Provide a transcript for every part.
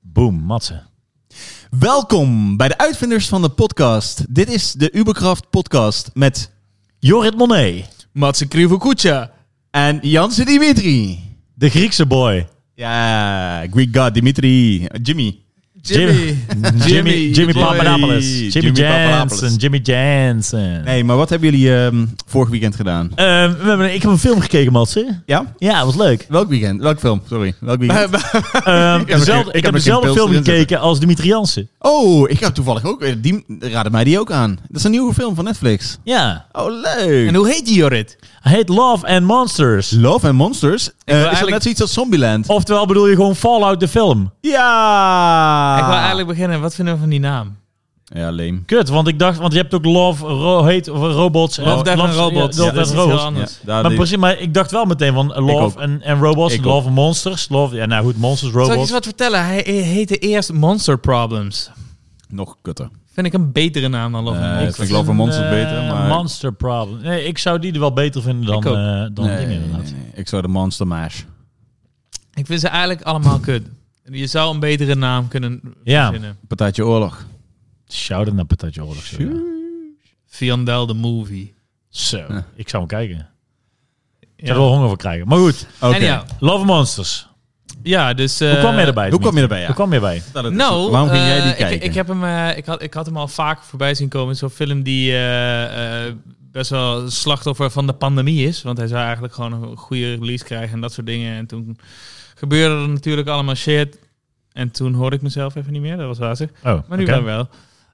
Boom, Matze. Welkom bij de uitvinders van de podcast. Dit is de Uberkraft podcast met Jorrit Monet, Matze Krivokutja. en Jansen Dimitri. de Griekse boy. Ja, Greek God Dimitri, eh, Jimmy. Jimmy. Jimmy, Jimmy, Jimmy Papadopoulos. Jimmy, Jimmy Papadopoulos. Jansen. Jimmy Jansen. Nee, maar wat hebben jullie ehm, vorig weekend gedaan? Eh, we hebben, ik heb een film gekeken, Matze. Ja? Ja, was leuk. Welk weekend? Welk film? Sorry, welk weekend? Ehm, geen- dezelfde- ik ik heb er heb geen dezelfde pils film erin zitten. gekeken als Dimitri Jansen. Oh, ik heb toevallig ook... eh, Die raadde mij die ook aan. Dat is een nieuwe film van Netflix. Ja. Oh, leuk. En hoe heet die, Jorrit? Hij heet Love and Monsters. Love and Monsters. Eh, is dat eigenlijk- net zoiets als Zombieland? Oftewel bedoel je gewoon Fallout de film. Ja! Ah. Ik wil eigenlijk beginnen. Wat vinden we van die naam? Ja, leem. Kut, want ik dacht, want je hebt ook Love, ro, heet of robots. eh, Love, Death and Robots. Ja, Ja, Love, Death dat is iets and heel Robots. anders. Ja, daar Maar die- precies, maar ik dacht wel meteen van eh, Ik Love ook. en, en Robots, Ik Love and Monsters, Love, ja nou goed, Monsters, Zal ik Robots. eens wat vertellen? Hij hij heette eerst Monster Problems. Nog kutter. Vind ik een betere naam dan Love Nee, and dat Monsters. vind ik Love and Monsters Eh, beter, maar- Monster Problem. Nee, ik zou die er wel beter vinden dan, Ik ook. eh, dan nee, dingen inderdaad. nee, nee. Ik zou de Monster Mash. Ik vind ze eigenlijk allemaal kut. Je zou een betere naam kunnen Ja. verzinnen. Partijtje Oorlog. Shout-out naar Patatje Oorlog. zo, ja. Fiandel the Movie. Zo, Ja. ik zou hem kijken. Ik zou er wel honger voor krijgen. Maar goed, Oké. Anyhow, Love and Monsters. ja, dus... Hoe eh, kwam je erbij? Hoe kwam Dimitri? je erbij? Ja. Hoe kwam je erbij? Dat het is- Nou, Waarom ging jij eh, die ik- kijken? Ik, heb hem, eh, ik, had, ik had hem al vaker voorbij zien komen. Zo'n film die eh, eh, best wel slachtoffer van de pandemie is. Want hij zou eigenlijk gewoon een goede release krijgen en dat soort dingen. En toen gebeurde er natuurlijk allemaal shit. En toen hoorde ik mezelf even niet meer. Dat was wazig. Oh, Maar nu oké. wel wel.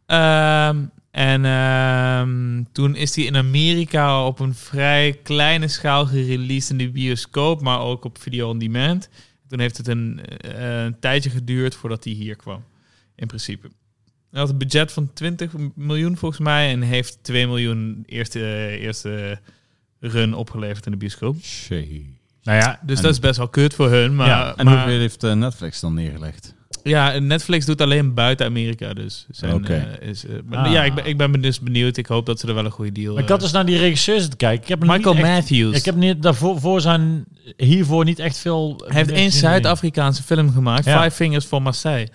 Ehm, en ehm, toen is die in Amerika op een vrij kleine schaal gereleased in de bioscoop, maar ook op video on demand. Toen heeft het een, eh, een tijdje geduurd voordat die hier kwam, in principe. Hij had een budget van 20 miljoen volgens mij en heeft 2 miljoen eerste, eerste run opgeleverd in de bioscoop. Shit. Nou ja, Dus En- dat is best wel kut voor hun, maar, Ja, En maar hoeveel heeft eh, Netflix dan neergelegd? Ja, Netflix doet alleen buiten Amerika dus. Zijn, Oké. eh, is, eh, maar Ah. Ja, ik ben, ik ben dus benieuwd. Ik hoop dat ze er wel een goede deal maar ik eh, had dus naar die regisseurs te kijken. Ik heb nog Michael niet echt- Matthews. Ik heb niet, daarvoor voor zijn, hiervoor niet echt veel... Hij heeft één Zuid-Afrikaanse film gemaakt. Ja. Five Fingers for Marseille.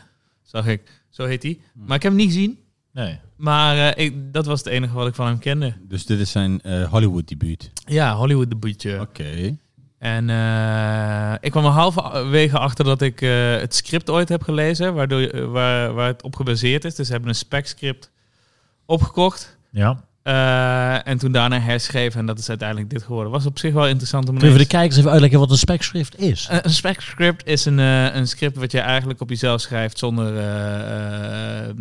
Zag ik. Zo heet hij. Hmm. Maar ik heb hem niet gezien. Nee. Maar eh, ik, dat was het enige wat ik van hem kende. Dus dit is zijn eh, Hollywood debuut. Ja, Hollywood debuutje. Oké. En eh, ik kwam er halverwege achter dat ik eh, het script ooit heb gelezen, waardoor, je- eh, waar, waar het op gebaseerd is. Dus ze hebben een spec-script opgekocht. Ja. Eh, en toen daarna herschreven en dat is uiteindelijk dit geworden. Was op zich wel interessant om Kun je voor eens- de kijkers even uitleggen wat een spekschrift Eh, is? Een- Een spec script is een, eh, een script wat je eigenlijk op jezelf schrijft zonder, eh, eh,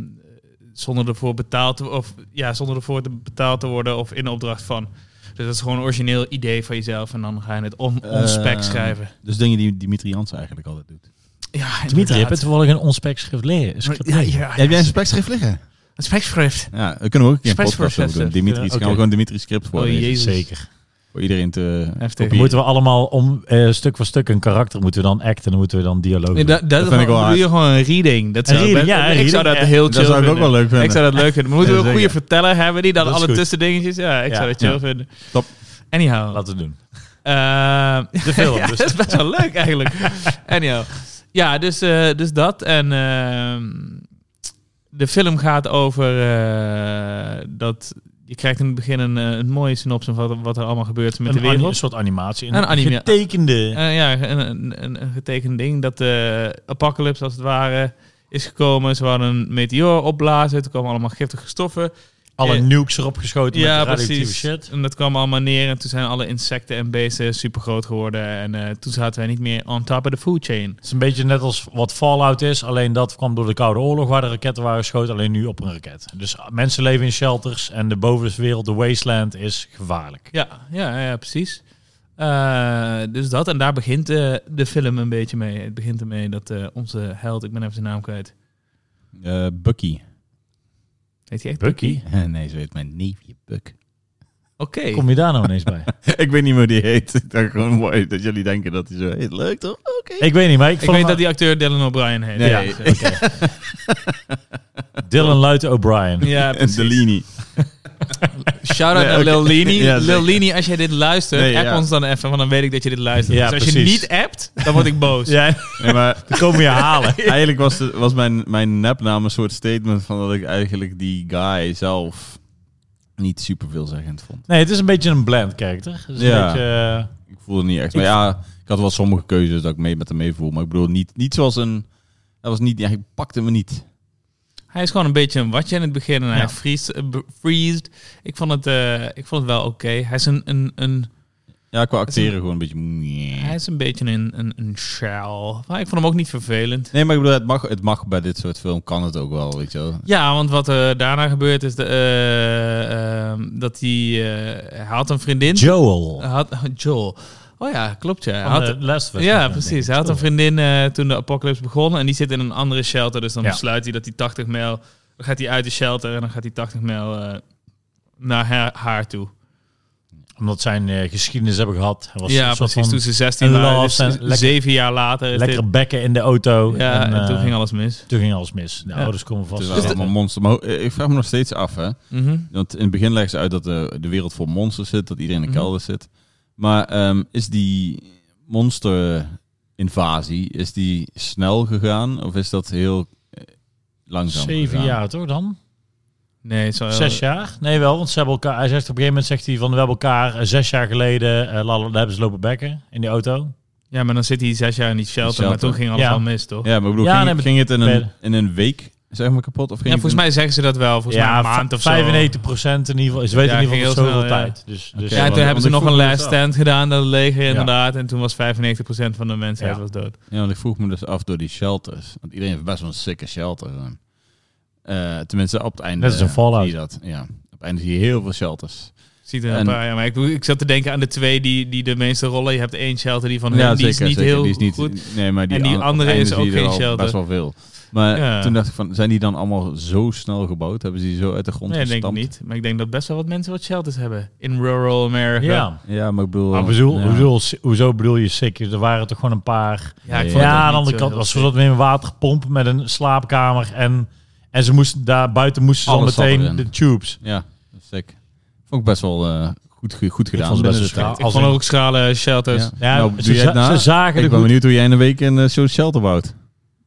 zonder ervoor betaald te, of ja, zonder ervoor te betaald te worden of in opdracht van. Dus dat is gewoon een origineel idee van jezelf en dan ga je het on, onspec Eh, schrijven. Dus dingen die Dimitri Jansen eigenlijk altijd doet. Ah, Ja, Dimitri, heb inderdaad. je toevallig een onspekschrift leren? Schrift Ja, leren? ja, Heb jij ja. een spekschrift liggen? Een spec script. Ja, dat kunnen we ook een keer een Specs podcast voor over doen. zestig. Dimitri, Ja, gaan we oké. gewoon Dimitri script voor Oh, jezus. Zeker. Voor iedereen te... Heftig. Dan moeten we allemaal om eh, stuk voor stuk een karakter moeten we dan acten en dan moeten we dan dialoog doen. dat, dat, vind ik wel doe hard. je gewoon een reading. Dat Een zou, reading, ik best- ja, een ik zou reading, dat ja. heel Dat chill zou ik ook vinden. wel leuk vinden. Ik zou dat leuk vinden. Maar moeten we Ja, een goede zeker. verteller hebben die dan Dat is alle goed. tussendingetjes? Ja, ik Ja, zou dat chill ja. vinden. Top. Anyhow. Laten we het doen. Eh, De film ja, dus. dat is best wel leuk eigenlijk. Anyhow. Ja, dus, eh, dus dat. En ehm, de film gaat over eh, dat... Je krijgt in het begin een, eh, een mooie synopsis van wat, wat er allemaal gebeurt met de Een, ani- een wereld. soort animatie. Een anime. getekende. Eh, ja, een, een, een, een getekend ding. Dat de apocalypse als het ware is gekomen. Ze hadden een meteoor opblazen. Toen kwamen allemaal giftige stoffen. alle eh, nukes erop geschoten met de radioactieve shit. En dat kwam allemaal neer. En toen zijn alle insecten en beesten super groot geworden. En eh, toen zaten wij niet meer on top of the food chain. Het is een beetje net als wat Fallout is. Alleen dat kwam door de Koude Oorlog waar de raketten waren geschoten. Alleen nu op een raket. Dus ah, mensen leven in shelters en de bovenwereld, de wasteland, is gevaarlijk. Ja, ja, ja precies. Eh, dus dat. En daar begint eh, de film een beetje mee. Het begint ermee dat eh, onze held, ik ben even zijn naam kwijt. Eh, Bucky. Heet hij echt? Bucky? nee, ze heet mijn neefje Buck. Oké. Kom je daar nou ineens bij? ik weet niet meer hoe die heet. Ik dacht gewoon mooi dat jullie denken dat hij zo heet. Leuk toch? Oké. ik weet niet, maar ik, Ik vond weet hem- dat die acteur Dylan O'Brien heet. Nee. Ja, Ja, oké. Dylan Luiten O'Brien. ja En precies. Delini. Shout-out Nee, naar oké. Lil Lini. Ja, Lil zeker. Lini, als jij dit luistert, Nee, app ja. ons dan even, want dan weet ik dat je dit luistert. Ja, dus als je precies. niet appt, dan word ik boos. Ja, Nee, maar die komen je halen. eigenlijk was, de, was mijn, mijn nepnaam een soort statement van dat ik eigenlijk die guy zelf niet super veelzeggend vond. Nee, het is een beetje een blend character. Het is Ja. een beetje, eh, Ik voelde niet echt. Maar ja, ik had wel sommige keuzes dat ik mee met hem meevoel. Maar ik bedoel, niet, niet zoals een... Dat was niet... Ja, hij pakte me niet. Hij is gewoon een beetje een watje in het begin en hij Ja. freest, eh, be- freezed. Ik vond het, eh, ik vond het wel oké. Hij is een, een, een, Ja, qua acteren gewoon een beetje... meh. hij is een beetje een, een, een shell. Maar ik vond hem ook niet vervelend. Nee, maar ik bedoel, het mag, het mag bij dit soort film. Kan het ook wel, weet je wel. Ja, want wat er daarna gebeurt is de, eh, ehm, dat hij, eh, hij had een vriendin. Joel. Hij had, Joel. Oh ja, klopt ja. Hij Van had, de Last of Us ja, Club, denk precies. ik. Hij had een vriendin eh, toen de apocalypse begon en die zit in een andere shelter. Dus dan Ja. besluit hij dat hij 80 mijl... Dan gaat hij uit de shelter en dan gaat hij 80 mijl eh, naar haar, haar toe. Omdat zijn eh, geschiedenis hebben gehad. Hij was ja, een soort precies. Toen van ze 16 een waren, love dus en z- lekker- zeven jaar later. Is lekkere dit, bekken in de auto. ja, en, eh, toen ging alles mis. toen ging alles mis. De Ja. ouders komen Het vast. is wel allemaal monster. Maar ho- eh, ik vraag me nog steeds af, hè. Mhm. Want in het begin leggen ze uit dat de, de wereld vol monsters zit, dat iedereen in de Mhm. kelder zit. Maar ehm, is die monster-invasie, is die snel gegaan of is dat heel eh, langzaam Zeven gegaan? jaar toch dan? Nee, zo, Zes jaar? Nee, wel. Want ze hebben elkaar. Hij zegt op een gegeven moment zegt hij van we hebben elkaar eh, zes jaar geleden. eh, la- la- daar hebben ze lopen bekken in die auto. Ja, maar dan zit hij zes jaar in die shelter, Die maar shelter. toen ging alles Ja. al mis, toch? Ja, maar ik bedoel, Ja, ging, nee, maar- ging het in een, verder. in een week zeg maar kapot? Of ging Ja, volgens mij zeggen ze dat wel. Volgens mij een maand v- of zo. 95 procent in ieder geval. Ze weten Ja, in ieder ging geval heel zoveel snel, ja. tijd. Dus, dus Oké, Ja, want- toen hebben want ze ik nog een voelde het last stand gedaan, dat leger Ja. inderdaad. En toen was 95% van de mensheid Ja. was dood. Ja, want ik vroeg me dus af door die shelters. Want iedereen heeft best wel een sikke shelter. gewoon. Eh, tenminste, op het einde Net als een Fallout. zie je dat. Ja, op het einde zie je heel veel shelters. Ziet er een En- paar, ja. Maar ik, ik zat te denken aan de twee die, die de meeste rollen. Je hebt één shelter die van ja, hem, die is niet heel die is niet, goed. Nee, maar die En die an- op het andere einde is zie ook je er geen al shelter. Best wel veel. Maar Ja. toen dacht ik van, zijn die dan allemaal zo snel gebouwd? Hebben ze die zo uit de grond Nee, dat denk ik gestampt? niet. Maar ik denk dat best wel wat mensen wat shelters hebben. In rural America. ja. Ja, maar ik bedoel... eh, Maar bedoel, ja. bedoel, Ah, hoezo bedoel je zeker? Er waren toch gewoon een paar Ja, ik Ja, vond het ook Ja, aan niet eh, de andere zo kant heel was er weer een waterpomp met een slaapkamer en, en ze moesten daar buiten moesten ze al Alles zat meteen erin. de tubes. Ja, dat is sick. Vond ik best wel eh, goed, ge- goed gedaan. vond het best binnen de wel tijd. schaal. Ik Als vond in- ook schrale shelters. Ja, Nou, doe ze, jij het za- na? ze zagen er Ik ben goed. benieuwd hoe jij in een week een eh, zo'n shelter bouwt.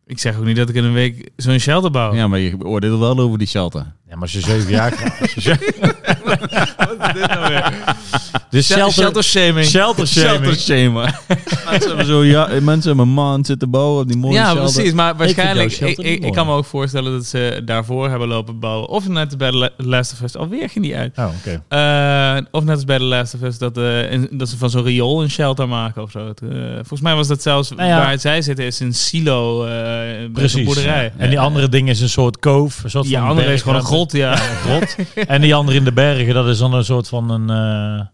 Ik zeg ook niet dat ik in een week zo'n shelter bouw. Oh. Ja, maar je oordeelt wel over die shelter. Ja, maar als je zeven jaar krijgt- als je zeven- nou De Shelter, shelter, shelter shelter, shaming. shaming. shamer. mensen hebben zo, ja, mensen hebben een maand zitten bouwen op die mooie ja, shelter. precies. Maar waarschijnlijk, jouw ik, shelter ik, niet ik kan me ook voorstellen dat ze daarvoor hebben lopen bouwen. Of net als bij de La- Last of Us, alweer ging die uit. Oh, oké. Eh, of net als bij de Last of Us, dat, eh, in- dat ze van zo'n riool een shelter maken of zo. Het, eh, volgens mij was dat zelfs, Nou ja. waar zij zitten, is een silo eh bij zo'n Precies. boerderij. En die andere ding is een soort koof. Een soort Die van andere is gewoon een berg- grot, ja. grot. en die andere in de bergen, dat is dan een soort van een... eh,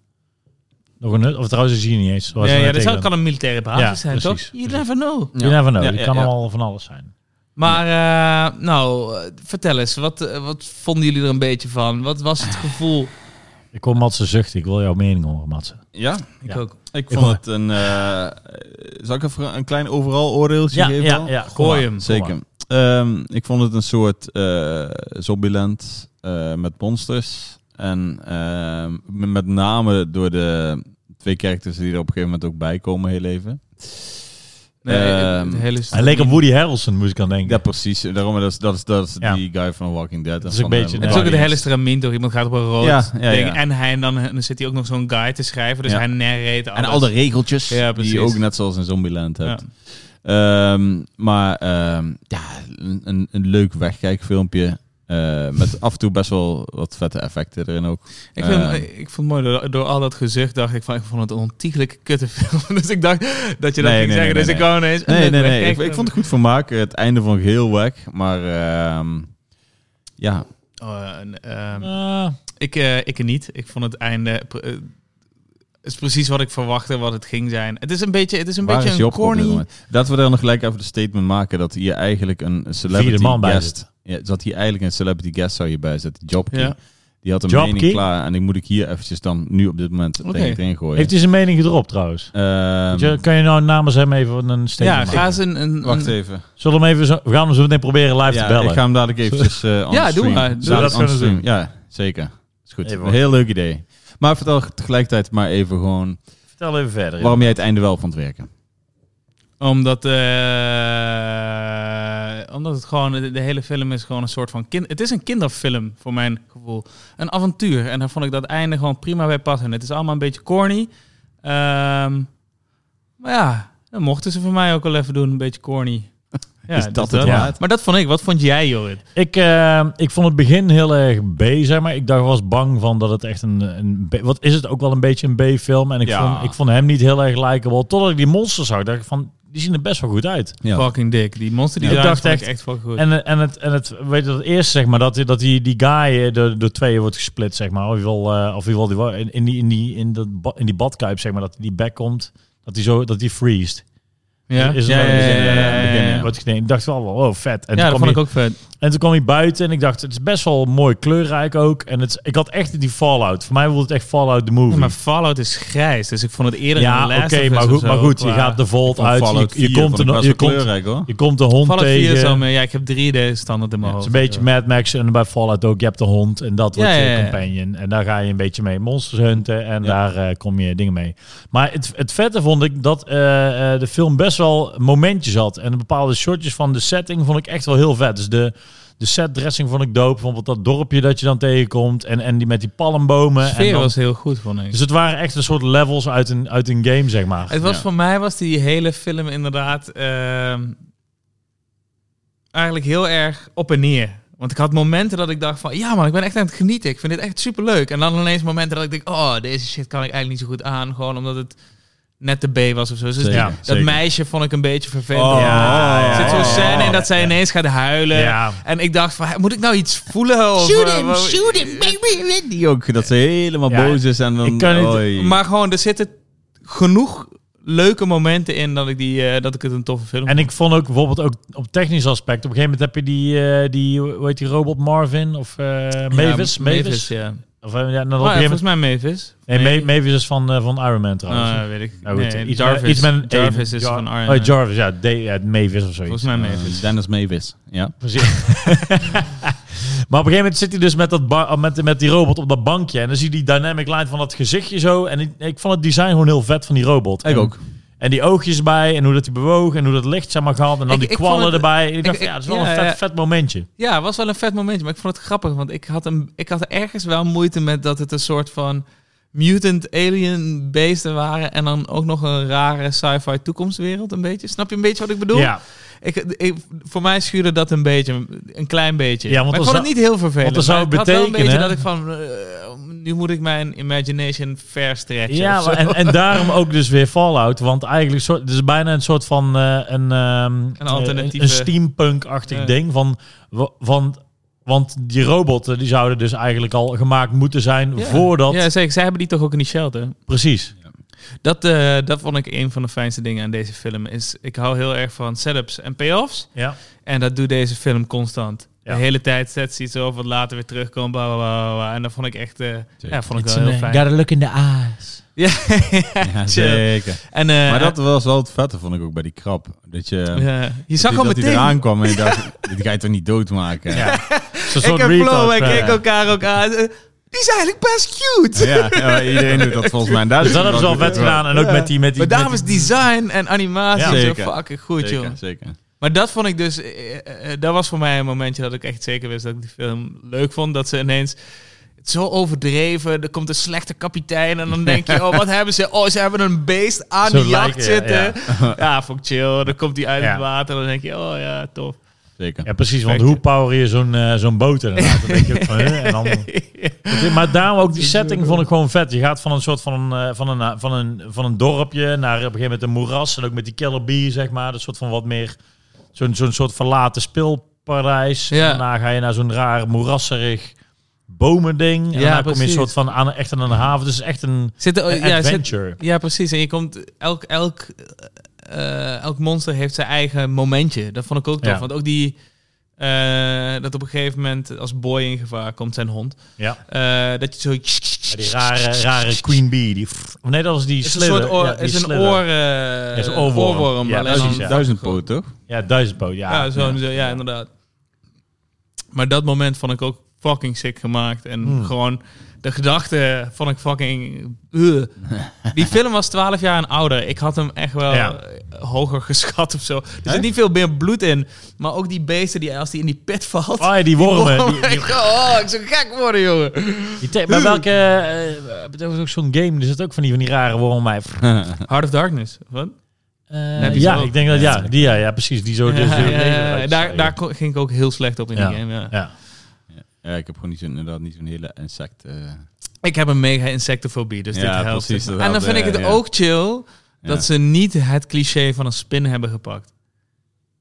nog een hut. Of trouwens, dat zie je niet eens. Ja, ja, dat zou, kan een militaire basis Ja, zijn, precies, toch? You precies. never know. Je never know. Ja, die ja, kan ja. allemaal van alles zijn. Maar eh, nou, eh, vertel eens, wat, eh, wat vonden jullie er een beetje van? Wat was het gevoel? Ik hoor Matze zuchten. Ik wil jouw mening horen, Matze. Ja, Ik Ja. ook. ik vond het een... eh, zal ik even een klein overal oordeeltje geven? dan? kom Gooi maar, hem. kom Zeker. maar. Ehm, ik vond het een soort eh Zombieland eh, met monsters. En ehm, m- met name door de twee characters die er op een gegeven moment ook bij komen heel even. Nee, Ehm, het hele Hij leek op Woody Harrelson, moest ik aan denken. ja, precies. Daarom, dat is, dat is, dat is Ja. die guy van Walking Dead. en Dat is een van de beetje- Het is Ja, ook de die hele is- stramien, toch? Iemand gaat op een rood Ja, ja, ding. ja. En hij, dan, dan zit hij ook nog zo'n guide te schrijven. Dus Ja. hij narrate En al de regeltjes Ja, precies. die je ook net zoals in Zombieland Ja. hebt. Ehm, maar ehm, ja, een, een, een leuk wegkijkfilmpje. eh, met af en toe best wel wat vette effecten erin ook. Ik, vind, Ehm. ik vond het mooi, door, door al dat gezicht dacht ik van... Ik vond het een ontiegelijke kutte film. Dus ik dacht dat je dat Nee, ging nee, zeggen. nee, nee, dus ik wou ineens... Nee, nee, nee. Kijk, Ik, ik vond het goed vermaak. Het einde vond ik heel wack. Maar ehm, ja, Oh, en, ehm, Eh, ik, eh, ik niet. Ik vond het einde... pr- eh, is precies wat ik verwachtte, wat het ging zijn. Het is een beetje, het is een, waar beetje is je een op op dit corny... moment? Laten we dan nog gelijk even de statement maken dat hier eigenlijk een celebrity Vierde man bij guest... Ja, dat hier eigenlijk een celebrity guest zou hierbij zitten. Jobkey. Ja. Die had een Jobkey? mening klaar. En die moet ik hier eventjes dan nu op dit moment Oké. tegen erin gooien. heeft hij zijn mening gedropt trouwens? Ehm, Weet je, kan je nou namens hem even een statement Ja, maken? ga eens een... een wacht een- even. Zullen we hem even zo, we gaan hem zo meteen proberen live te Ja, bellen. ik ga hem dadelijk eventjes eh on Ja, the doe stream. maar. Doe Dadelijk dat on the gewoon stream. Ja, zeker. Is Is goed. Even een wachten. heel leuk idee. Maar vertel tegelijkertijd maar even gewoon Vertel even verder. ja. waarom jij het einde wel vond werken. Omdat, eh, omdat het gewoon, de de hele film is gewoon een soort van kind. Het is een kinderfilm voor mijn gevoel. Een avontuur. En daar vond ik dat einde gewoon prima bij passen. Het is allemaal een beetje corny. Ehm, maar ja, dan mochten ze voor mij ook wel even doen. Een beetje corny. Ja, Is dus dat het waard? Maar dat vond ik. Wat vond jij, Jorrit? Ik, eh, ik vond het begin heel erg B, zeg maar. Ik dacht, was bang van dat het echt een... een B- wat is het ook wel een beetje een B-film. En ik, Ja. vond, ik vond hem niet heel erg likable. Totdat ik die monsters zag, dacht ik van... Die zien er best wel goed uit. Ja. Fucking dik. Die monster die Ja, daar ik dacht dacht echt, echt- echt fucking goed. En, eh, en, het, en het, weet je, dat eerste, zeg maar, dat, die- dat die, die guy eh, door, door tweeën wordt gesplit, zeg maar. Of in ieder geval, eh, of in, ieder geval die, in, in, die, in, die, in, dat, ba- in die badkuip, zeg maar, dat die back komt. Dat die zo, dat die freest. ja, Is ja, het ja, wel in ja, het ja, ja, begin, ja. eh, wordt gedaan. Ik dacht wel, wow, vet. En Ja, toen dat kwam vond je- ik ook vet. En toen kwam hij buiten en ik dacht, het is best wel mooi kleurrijk ook. En het, is- ik had echt die Fallout. Voor mij voelde het echt Fallout the Ja, movie. maar Fallout is grijs, dus ik vond het eerder Ja, een oké, Last of Us maar of goed, zo, eh, maar goed je qua- gaat de Volt uit. Je, je komt er nog- je, komt, kleurrijk hoor. je komt de hond Fallout 4 is al tegen. meer, ja, ik heb 3D standaard in mijn het is hoofd. een beetje Mad Max en bij Fallout ook. Je hebt de hond en dat wordt Ja, je ja, ja. companion. En daar ga je een beetje mee monsters hunten en Ja. daar eh, kom je dingen mee. Maar het, het vette vond ik dat eh, eh, de film best wel momentjes had. En bepaalde shotjes van de setting vond ik echt wel heel vet. Dus de, de setdressing vond ik dope. Bijvoorbeeld dat dorpje dat je dan tegenkomt. En, en die met die De palmbomen. sfeer en dan- was heel goed, vond ik. Dus het waren echt een soort levels uit een, uit een game, zeg maar. het was ja. voor mij was die hele film inderdaad ehm, eigenlijk heel erg op en neer. Want ik had momenten dat ik dacht van, ja man, ik ben echt aan het genieten. Ik vind dit echt superleuk. En dan ineens momenten dat ik denk, oh, deze shit kan ik eigenlijk niet zo goed aan. Gewoon omdat het net de B was of zo. Dus Zeker, ja, dat zeker. meisje vond ik een beetje vervelend. Oh, ja, ja, er zit zo'n ja, ja, scène in ja. dat zij ineens gaat huilen. ja, En ik dacht van, moet ik nou iets voelen? Of, eh, wat- Die ook, dat ze helemaal Ja, boos is en dan... ik kan niet- Oei. Maar gewoon, er zitten genoeg leuke momenten in dat ik, die, eh, dat ik het een toffe film En ik vond ook bijvoorbeeld ook op technisch aspect. Op een gegeven moment heb je die, eh, die hoe heet die robot Marvin of eh Mavis? Ja, Mavis? Mavis, ja. Of, eh, ja, dan Oh, op een ja, gegeven volgens moment, mij Mavis. nee, Ma- Mavis is van, eh, van Iron Man trouwens. Ah, weet ik. Nou goed, Nee, iets Jarvis, met- iets met een E. Jarvis is Jar- van Iron Oh, Man. Jarvis, ja, D, ja, Mavis of zoiets. volgens mij Eh, Mavis. Dennis Mavis. Ja. Precies. maar op een gegeven moment zit hij dus met, dat ba- met, met die robot op dat bankje. En dan zie je die dynamic line van dat gezichtje zo. En ik, ik vond het design gewoon heel vet van die robot. Ik En- ook. En die oogjes bij en hoe dat hij bewoog en hoe dat licht zeg maar gehad. En dan Ik- die ik kwallen vond het- erbij. En ik dacht, ik- ja, het is wel ja, een vet, ja. vet momentje. Ja, het was wel een vet momentje, maar ik vond het grappig, want ik had, een, ik had ergens wel moeite met dat het een soort van mutant alien beesten waren en dan ook nog een rare sci-fi toekomstwereld een beetje. Snap je een beetje wat ik bedoel? Ja, Ik, ik- voor mij schuurde dat een beetje, een klein beetje. Ja, want maar ik dat vond zou- het niet heel vervelend. want dat zou maar ik had wel een beetje betekenen- dat ik van, eh, nu moet ik mijn imagination verstretchen. ja of zo. maar en, en daarom ook dus weer Fallout. Want eigenlijk soort, het is bijna een soort van eh, een, ehm, eh, alternatieve- een steampunk-achtig Ja. ding. Van, wa- van, want die robotten die zouden dus eigenlijk al gemaakt moeten zijn Ja. voordat... Ja, zeker. Zij hebben die toch ook in die shelter? Precies. Dat, eh, dat vond ik een van de fijnste dingen aan deze film. Is, ik hou heel erg van setups en payoffs. Ja. En dat doet deze film constant. Ja. De hele tijd zet ze iets op, wat later weer terugkomt. Bla, bla, bla, bla. En dat vond ik echt eh, ja, vond ik wel heel fijn. look in the eyes. Ja, Ja, chill. zeker. En, eh, Maar dat was wel het vette, vond ik ook bij die krab. Dat je... ja. je dat zag hij- al dat hij meteen eraan kwam en je dacht, dit ga je toch niet doodmaken? Ja. Het is een soort Ik en retard, Flo, wij eh. keken elkaar ook aan. Eh, Die is eigenlijk best cute. Ja, ja, maar iedereen doet dat volgens mij. En Daar Dus is dat het hebben ze wel vet gedaan. En ook Ja. met die... Met die Maar met daarom is die- design en animatie Ja. zo Zeker. fucking goed, joh. Zeker, zeker. Maar dat vond ik dus... eh, eh, eh, dat was voor mij een momentje dat ik echt zeker wist dat ik die film leuk vond. Dat ze ineens... Het zo overdreven, er komt een slechte kapitein en dan denk je, oh wat hebben ze? Oh, ze hebben een beest aan Zo de jacht lijken, ja, zitten. Ja, vond ik chill. Dan komt hij uit Ja. het water en dan denk je, oh ja, tof. zeker. Ja, precies. Want Perfect. hoe power je zo'n eh, zo'n boot inderdaad? Dan denk je ook van, hè, en dan- Maar daarom ook die setting vond ik gewoon vet. Je gaat van een soort van, eh, van, een, van, een, van een dorpje naar op een gegeven moment een moeras. En ook met die killer bee, zeg maar. Dat soort van wat meer... Zo'n zo'n soort verlaten speelparadijs. Ja. En daarna ga je naar zo'n raar moerasserig bomending. En Ja, daarna kom je een precies. soort van aan, echt aan een haven. Dus echt een, Zit er, oh, een ja, zit, adventure. Ja, precies. En je komt elk, elk, eh, elk monster heeft zijn eigen momentje. Dat vond ik ook tof. Ja. Want ook die. eh, dat op een gegeven moment als boy in gevaar komt zijn hond. ja. Eh, dat je zo. Ja, die rare, rare queen bee. Die, of nee, dat was die Het is een slither. soort oor. Ja, die is een slither. oor. eh, is een oorworm. Ja, alleen precies, dan- ja. Duizendpoot, toch? Ja, duizendpoot. Ja, ja, zo, ja. ja, inderdaad. Maar dat moment vond ik ook fucking sick gemaakt. En Hmm. gewoon de gedachte van ik fucking... Ugh. Die film was 12 jaar en ouder. Ik had hem echt wel Ja. eh, hoger geschat of zo. Er zit Hè? niet veel meer bloed in. Maar ook die beesten, die, als die in die pit valt... Oh, ja, die wormen. Oh, Die, die, my God, ik zou gek worden, jongen. die te- bij welke... eh, eh, er was ook zo'n game, er zit ook van die, van die rare wormen bij. Heart of Darkness. Wat? Eh, heb je ja, ze ook. ik denk dat ja, die, ja, ja precies. Die zo. dus, Ja, eh, ja, ja, uit- daar, daar kon- ging ik ook heel slecht op in Ja. die game. Ja. Ja. ja, ik heb gewoon niet zo'n, inderdaad niet zo'n hele insect... eh, Ik heb een mega insectofobie, dus Ja, dit helpt. precies, dat en dan helpt, vind ik ja, het ja. ook chill dat ja. ze niet het cliché van een spin hebben gepakt.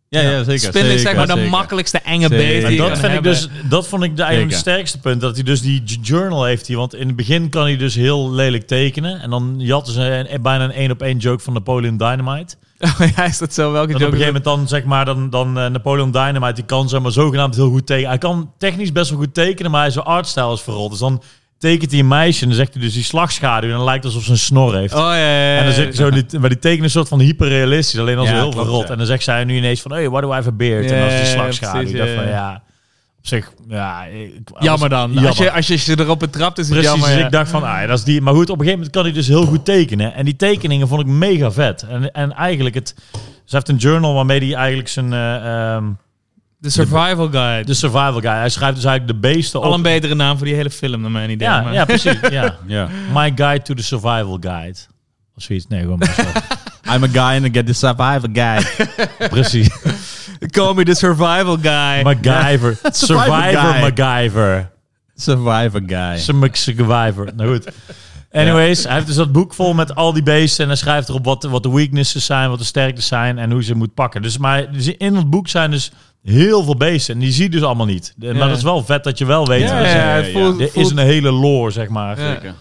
Ja, ja, zeker. spin zeker, is zeg maar de zeker. makkelijkste enge Zeker. beest Maar die je dat kan vind ik hebben. dus, dat vond ik de, eigenlijk het Zeker. sterkste punt. Dat hij dus die j- journal heeft hier. Want in het begin kan hij dus heel lelijk tekenen. En dan jatten ze een- een- bijna een één op één joke van Napoleon Dynamite. Oh, ja, is dat zo? Welke Dat op joke een is gegeven moment dan, zeg maar, dan, dan eh, Napoleon Dynamite, die kan zeg maar zogenaamd heel goed tekenen. Hij kan technisch best wel goed tekenen, maar zijn artstijl is verrot. Dus dan tekent hij een meisje en dan zegt hij dus die slagschaduw en dan lijkt het alsof ze een snor heeft. dat? Oh ja, ja, ja. En dan zit je zo, die, maar die tekenen een soort van hyperrealistisch, alleen als Ja, heel klopt, verrot. ja. En dan zegt zij nu ineens van, hey, why do I have a beard? Ja, en als die ja, slagschaduw. precies, Ik dacht ja, van, ja. ja, op zich, ja. ik- Jammer dan. Jammer. Als, je, als je ze erop betrapt, is het Precies, jammer. dus ja. ik dacht van, ah, dat is die. Maar goed, op een gegeven moment kan hij dus heel goed tekenen. En die tekeningen vond ik mega vet. En, en eigenlijk, het, ze heeft een journal waarmee hij eigenlijk zijn, eh, ehm, De Survival Guide. de survival guy, hij schrijft dus eigenlijk de beesten Al een Dus op. betere naam voor die hele film, naar mijn idee. Ja, maar- ja, precies, ja. Ja. My guide to the survival guide. Of zoiets, nee, gewoon maar zo. I'm a guy and I get the survivor guy. Precies. Call me the Survival Guy. MacGyver. Survivor guy. MacGyver. survivor guy. Ze mik- ze Survivor. Nou goed. Anyways, hij heeft dus dat boek vol met al die beesten. En hij schrijft erop wat, wat de weaknesses zijn, wat de sterktes zijn en hoe ze moet pakken. Dus maar dus in dat boek zijn dus heel veel beesten. En die zie je dus allemaal niet. De- Ja. Maar dat is wel vet dat je wel weet. Ja, dat ja, er- ja, het Ja, voelt, Er is voelt- een hele lore, zeg maar. Ja.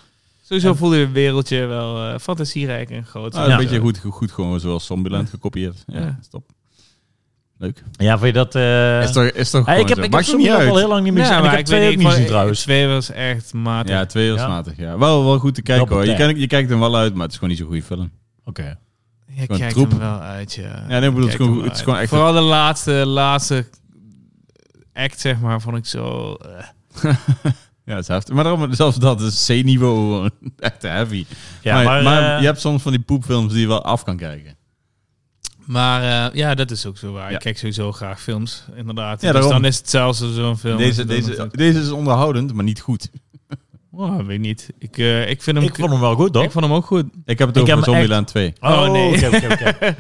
Sowieso voelde het wereldje wel eh, fantasierijk en groot. Ah, Ja. Een beetje goed, goed, goed gewoon zoals Zombieland gekopieerd. Ja, stop. Leuk. Ja, vind je dat... eh, Is toch, is toch Hey, ik gewoon heb, ik zo. heb Maakt zo'n niet al uit. heel lang niet meer Ja, gezien. En ik heb twee ook weet niet gezien ik vond- trouwens. Twee was echt matig. Ja, twee was Ja. matig. Ja. Wel, wel goed te kijken Double hoor. Je, tap. kijkt- je kijkt hem wel uit, maar het is gewoon niet zo'n goede film. Oké. Je Gewoon kijkt troep. hem wel uit, ja. nee, ik bedoel, het is Kijkt gewoon- hem het is uit. gewoon echt- Vooral de laatste, laatste act, zeg maar, vond ik zo... eh. Ja, het is heftig. Maar daarom, zelfs dat is C-niveau gewoon. echt heavy. Ja, maar maar, maar eh, je hebt soms van die poepfilms die je wel af kan kijken. Maar eh, ja, dat is ook zo waar. Ja. Ik kijk sowieso graag films, inderdaad. Ja, dus daarom. dan is het zelfs als zo'n film. Deze, Dan deze, natuurlijk- deze is onderhoudend, maar niet goed. Oh, weet ik niet. Ik, eh, ik, vind hem, Ik vond hem wel goed, toch? ik vond hem ook goed. Ik heb het Ik over heb hem Zombieland 2. Oh, nee. oké, oké, oké.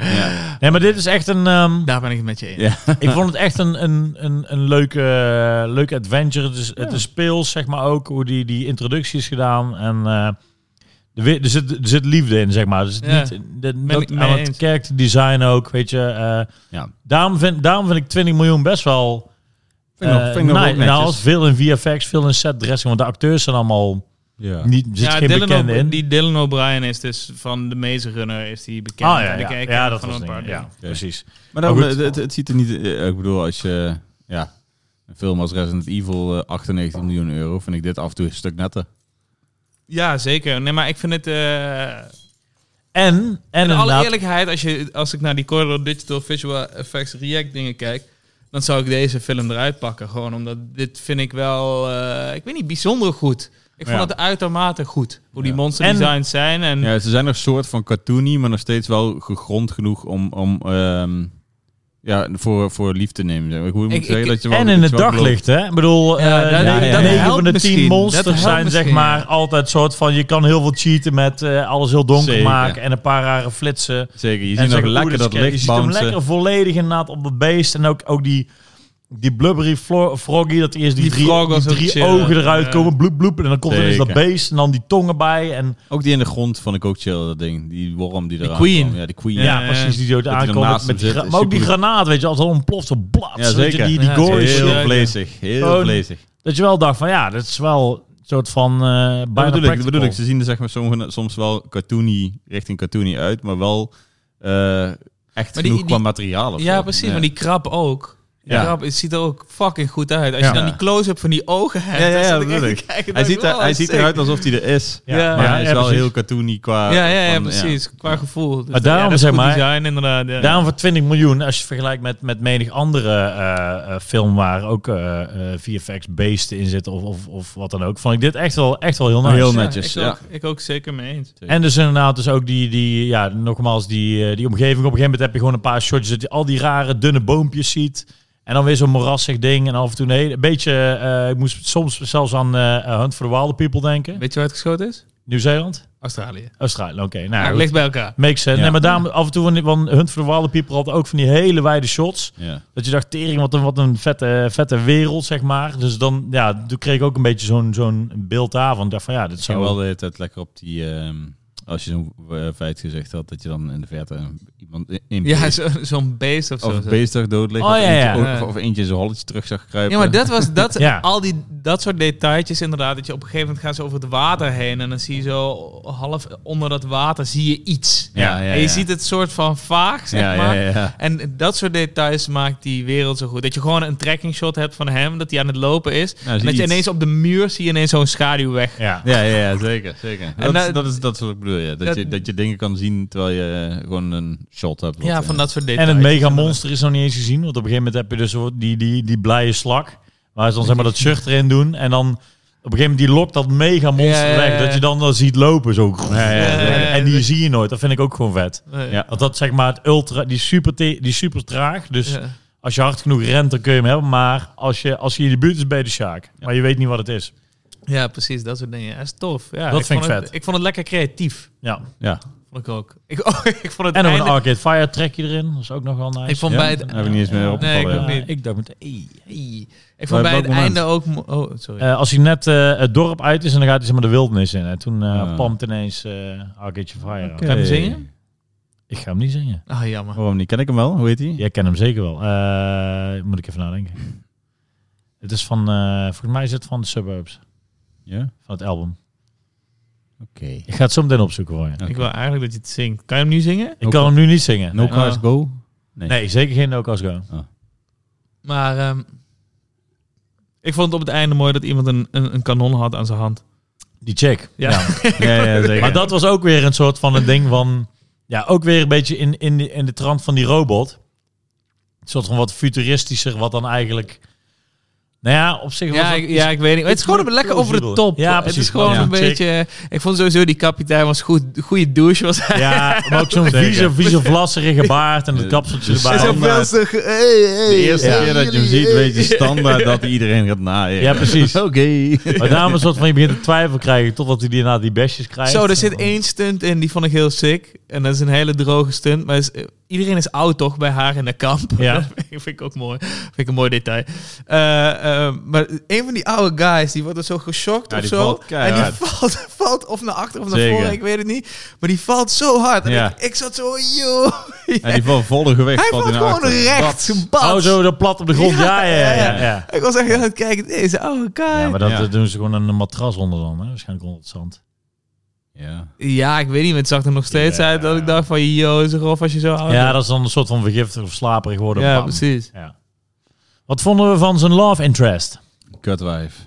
Nee, maar dit is echt een... ehm, Daar ben ik het met je eens. Ja. ik vond het echt een, een, een, een leuke, eh, leuke adventure. Het is, het is speels, zeg maar ook, hoe die, die introductie is gedaan. En eh, er, wi- er, zit, er zit liefde in, zeg maar. Dus Ja. niet, de, dat, ik mee aan het eens. character design ook, weet je. eh, Ja. daarom, vind, daarom vind ik 20 miljoen best wel... Vind ik nog- eh, vind ik nog nice. ook netjes. Nou, veel in VFX, veel in set dressing. Want de acteurs zijn allemaal... Ja. Niet, er zit geen Dylan bekende O'B- in. Die Dylan O'Brien is dus van de Maze Runner is die ah bekend. ja, En ik ja. ken ja hem dat van was een een paar Ja, dingen. precies. Maar daarom, Maar goed. het, het, het ziet er niet... eh, Ik bedoel, als je... Ja, een film als Resident Evil eh, 98 miljoen euro, vind ik dit af en toe een stuk netter. Ja, zeker. Nee, maar ik vind het... eh, En, en In alle inderdaad... eerlijkheid, als, je, als ik naar die Corridor Digital Visual Effects React dingen kijk, dan zou ik deze film eruit pakken. Gewoon omdat dit vind ik wel, eh, ik weet niet, bijzonder goed. Ik vond Ja. het uitermate goed, hoe die Ja. monster En- designs zijn. Mm. En, Ja, ze zijn nog soort van cartoony, maar nog steeds wel gegrond genoeg om, om ehm, ja, voor, voor lief te nemen. zeg maar. Hoe moet Ik- ik zeggen ik- dat je wel- En dat in je het wel gelooft. daglicht, hè? Ik bedoel, eh Ja, dat- negen- ja, ja. negen Dat van de helpt tien misschien. Dat monsters helpt zijn zeg misschien, maar ja. altijd soort van... Je kan heel veel cheaten met eh, alles heel donker Zeker. maken en een paar rare flitsen. Zeker, je en ziet nog zeggen, lekker oeh, dit is dat ken- licht Je ziet hem bouncen. lekker volledig inderdaad op dat beest. En ook, ook die, die blubbery flo- froggy, dat eerst die, Die drie, frog was die ook drie chill, ogen eruit ja. komen, bloep bloep. En dan komt er eens dat Zeker. beest en dan die tongen bij. En Ook die in de grond vond ik ook chill, dat ding. Die worm die eraan queen. kwam. Ja, de queen. ja, Ja, precies, die dood Dat hij aankomt. ernaast met- met die zit, gra- is maar ook die super- granaat, weet je, als het al ontploft, zo Ja, blaas. weet je, zeker. die, die Ja, gore zeker. shit. Heel Ja, ja. vlezig, heel Oh, vlezig. Dat je wel dacht van, ja, dat is wel een soort van eh bijna Dat bedoel, ik, dat bedoel ik, practical. ze zien er zeg maar sommige, soms wel cartoony, richting cartoony uit, maar wel eh, echt die- genoeg die- qua materiaal. of ja, zo. precies. Maar die krab ook. Die Ja. Ja. het ziet er ook fucking goed uit. Als Ja. je dan die close-up van die ogen hebt. Ja, ja, dan ja, zat dat ik echt bedoel te Hij kijken, dacht ziet, ik, er, wow, hij ziet sick. eruit alsof hij er is. Ja, Ja. Maar hij is wel precies. heel cartoony qua... Ja, ja, ja, van- precies. Qua gevoel. Dus Maar daarom ja, dat is zeg goed maar- Design, inderdaad. Ja. Daarom voor 20 miljoen, als je het vergelijkt met, met menig andere eh, eh, film waar ook eh, eh, VFX-beesten in zitten of, of, of wat dan ook, vond ik dit echt wel, echt wel heel nice. Heel Ja, netjes, ik dus, ja. Ook, ik ook zeker mee eens. En dus inderdaad, dus ook die, die ja, nogmaals, die, eh, die omgeving. Op een gegeven moment heb je gewoon een paar shotjes dat je al die rare dunne boompjes ziet. En dan weer zo'n moerassig ding. En af en toe een, hele- een beetje, eh, ik moest soms zelfs aan eh, Hunt for the Wilder People denken. Weet je waar het geschoten is? Nieuw-Zeeland? Nou, Australië. Australië, oké. Ja, Nou, het ligt bij elkaar. makes sense. Ja. Nee, maar daarom af en toe, van die- want Hunt for the Wilder People had ook van die hele wijde shots. Ja. Dat je dacht, tering, wat een, wat een vette, vette wereld, zeg maar. Dus dan, ja, toen kreeg ik ook een beetje zo'n zo'n beeld daarvan. Ik dacht van, ja, dit Het ging zou... wel de hele tijd lekker op die... ehm, als je zo'n eh, feit gezegd had, dat je dan in de verte iemand in, in Ja, zo- zo'n beest of zo. of een beest zag dood liggen. Oh, of, ja, ja. Eentje, of, Ja. of eentje zijn holletje terug zag kruipen. Ja, maar dat was dat, Ja. al die dat soort detailtjes inderdaad. Dat je op een gegeven moment gaan ze over het water heen en dan zie je zo half onder dat water zie je iets. Ja, ja, en je ja. ziet het soort van vaag, zeg Ja, ja, maar. ja, ja. En dat soort details maakt die wereld zo goed. Dat je gewoon een tracking shot hebt van hem, dat hij aan het lopen is. Nou, zie en dat je iets. ineens op de muur zie je ineens zo'n schaduw weg. Ja. Ja, ja, ja, zeker. zeker. Dat, dat- is, dat, is, dat is wat ik bedoel. Ja. Dat, dat- je, dat je dingen kan zien terwijl je eh, gewoon een shot hebt. Ja, Wat, van eh, dat soort En details. het mega monster is nog niet eens gezien. Want op een gegeven moment heb je dus zo die, die, die blije slak. Waar ze dan zeg maar dat shirt erin doen. En dan op een gegeven moment die lokt dat mega monster Ja, ja, ja, weg. ja. Dat je dan dat ziet lopen zo. ja, ja, ja. En die zie je nooit. Dat vind ik ook gewoon vet. Eh, Ja. Want dat zeg maar het ultra, die super, te- die super traag. Dus ja. als je hard genoeg rent, dan kun je hem hebben. Maar als je, als je in de buurt is, bij de Sjaak. Maar je weet niet wat het is. Ja, precies, dat soort dingen. Dat is tof. Ja, Dat vind vond ik het- vet. ik vond het lekker creatief. Ja. Ja, Vond ik ook. Ik, oh, ik vond het En nog een einde- Arcade Fire trekje erin. Dat is ook nog wel nice. Ik vond Ja? bij het Daar heb ik niet eens meer opgevallen. Nee, ik ook ja. Ja, niet. ik dacht meteen, Ei. Ik Bij vond bij welk het moment? einde ook... mo- Oh, sorry. Eh, als hij net eh, het dorp uit is en dan gaat hij zeg maar de wildernis in. En toen eh Ja. pampt ineens eh Arcade of Fire. Oké. Kan je hem zingen? Ik ga hem niet zingen. Ah, jammer. Waarom niet? Ken ik hem wel? Hoe heet hij? Jij kent hem zeker wel. Eh, moet ik even nadenken. Het is van, eh, volgens mij is het van de Suburbs, Ja? van het album. Oké. Ik ga het zo meteen opzoeken voor je. Ja. Ik wil eigenlijk dat je het zingt. Kan je hem nu zingen? Ik kan hem nu niet zingen. No Nee, Cars Oh. Go? Nee, zeker geen No Cause Go. Maar ehm, ik vond het op het einde mooi dat iemand een, een, een kanon had aan zijn hand. Die check. Ja. Ja, ja, zeker. Maar dat was ook weer een soort van een ding van... Ja, ook weer een beetje in, in, de, in de trant van die robot. Een soort van wat futuristischer, wat dan eigenlijk... Nou ja, op zich was Ja, het ik, iets- ja, ik weet niet. Het is gewoon een lekker over de top. Ja, Het precies. is gewoon Ja. een Check. beetje... Ik vond sowieso die kapitein was goed. Goede douche was hij. Ja, maar ook zo'n Zeker. vieze, vieze vlasserige baard en dat kapseltje Dus- erbij. En zo'n Ja, veel- zo De eerste Ja. keer dat je hem ziet, weet je standaard dat iedereen gaat naaien. Ja, precies. Oké. Maar daarom is wat van je begint te twijfel krijgen totdat hij die na die besjes krijgt. Zo, er zit één stunt in, die vond ik heel sick. En dat is een hele droge stunt. Maar is- eh, iedereen is oud toch bij haar in de kamp? Ja. Dat vind ik ook mooi. Vind ik een mooi detail. Eh, eh, maar een van die oude guys, die wordt er zo geschokt Ja, of die zo. valt en die keihard. valt, valt of naar achter of naar Zeker. voren, ik weet het niet. Maar die valt zo hard. En Ja. ik, ik zat zo, joh. En die nou van volle gewicht Hij valt valt hij naar gewoon achter. recht. Bats. Bats. Oh, zo dat plat op de grond. Ja, ja, ja. ja, ja, ja. ja. Ik was echt aan het kijken, deze oude guy. maar dat Ja. dat doen ze gewoon een matras onder dan. Hè? Waarschijnlijk onder het zand. Ja. Ja, ik weet niet, maar het zag er nog steeds Ja. uit dat ik dacht van, joh, is het grof als je zo oud Ja, bent. dat is dan een soort van vergiftig of slaperig worden. Oh, ja Bam. precies. Ja. Wat vonden we van zijn love interest? Kutwijf.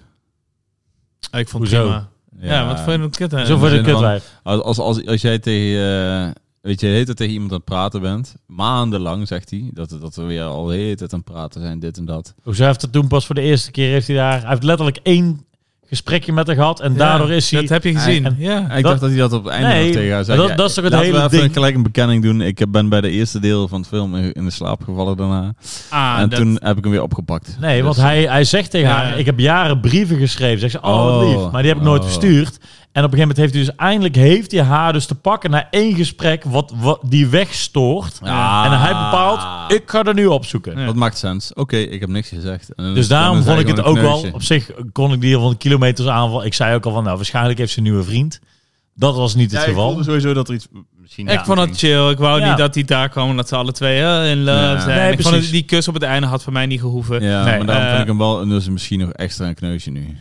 Ik vond het Hoezo? prima. Ja, wat vond je het kut aan? Zo voor de zin van- kutwijf. Als, als, als, als jij tegen, eh, weet je, de hele tijd tegen iemand aan het praten bent, maandenlang zegt hij, dat, dat we weer al de hele tijd aan het praten zijn, dit en dat. Hoezo heeft het toen pas voor de eerste keer heeft hij daar... Hij heeft letterlijk één gesprekje met haar gehad en daardoor is hij... Dat heb je gezien, en- ja. Ik dacht dat hij dat op het einde Nee, nog tegen haar zei. dat- Ja, dat is toch het laten we hele even ding. gelijk een bekenning doen. Ik ben bij de eerste deel van het film in in de slaap gevallen daarna. Ah, en dat- toen heb ik hem weer opgepakt. Nee, Dus- want hij, hij zegt tegen Ja. haar, ik heb jaren brieven geschreven. Zegt ze, oh, wat Oh. lief. Maar die heb ik nooit Oh. verstuurd. En op een gegeven moment heeft hij dus eindelijk heeft hij haar dus te pakken na één gesprek wat, wat die wegstoort. Ah. En hij bepaalt, ik ga er nu opzoeken. Dat maakt sens. Oké, ik heb niks gezegd. En Dus dan daarom is hij vond ik het gewoon ook een wel, kneusje. op zich kon ik die van de kilometers aanval. Ik zei ook al van, nou waarschijnlijk heeft ze een nieuwe vriend. Dat was niet het Ja, ik geval. voelde sowieso dat er iets... Misschien Ik vond het chill. Ik wou Ja. niet dat die daar kwam en dat ze alle twee eh, in love Ja. zijn. Nee, ik vond het- precies. die kus op het einde had voor mij niet gehoeven. Ja, Nee, maar daarom eh, vond ik hem wel... Dus misschien nog extra een kneusje nu.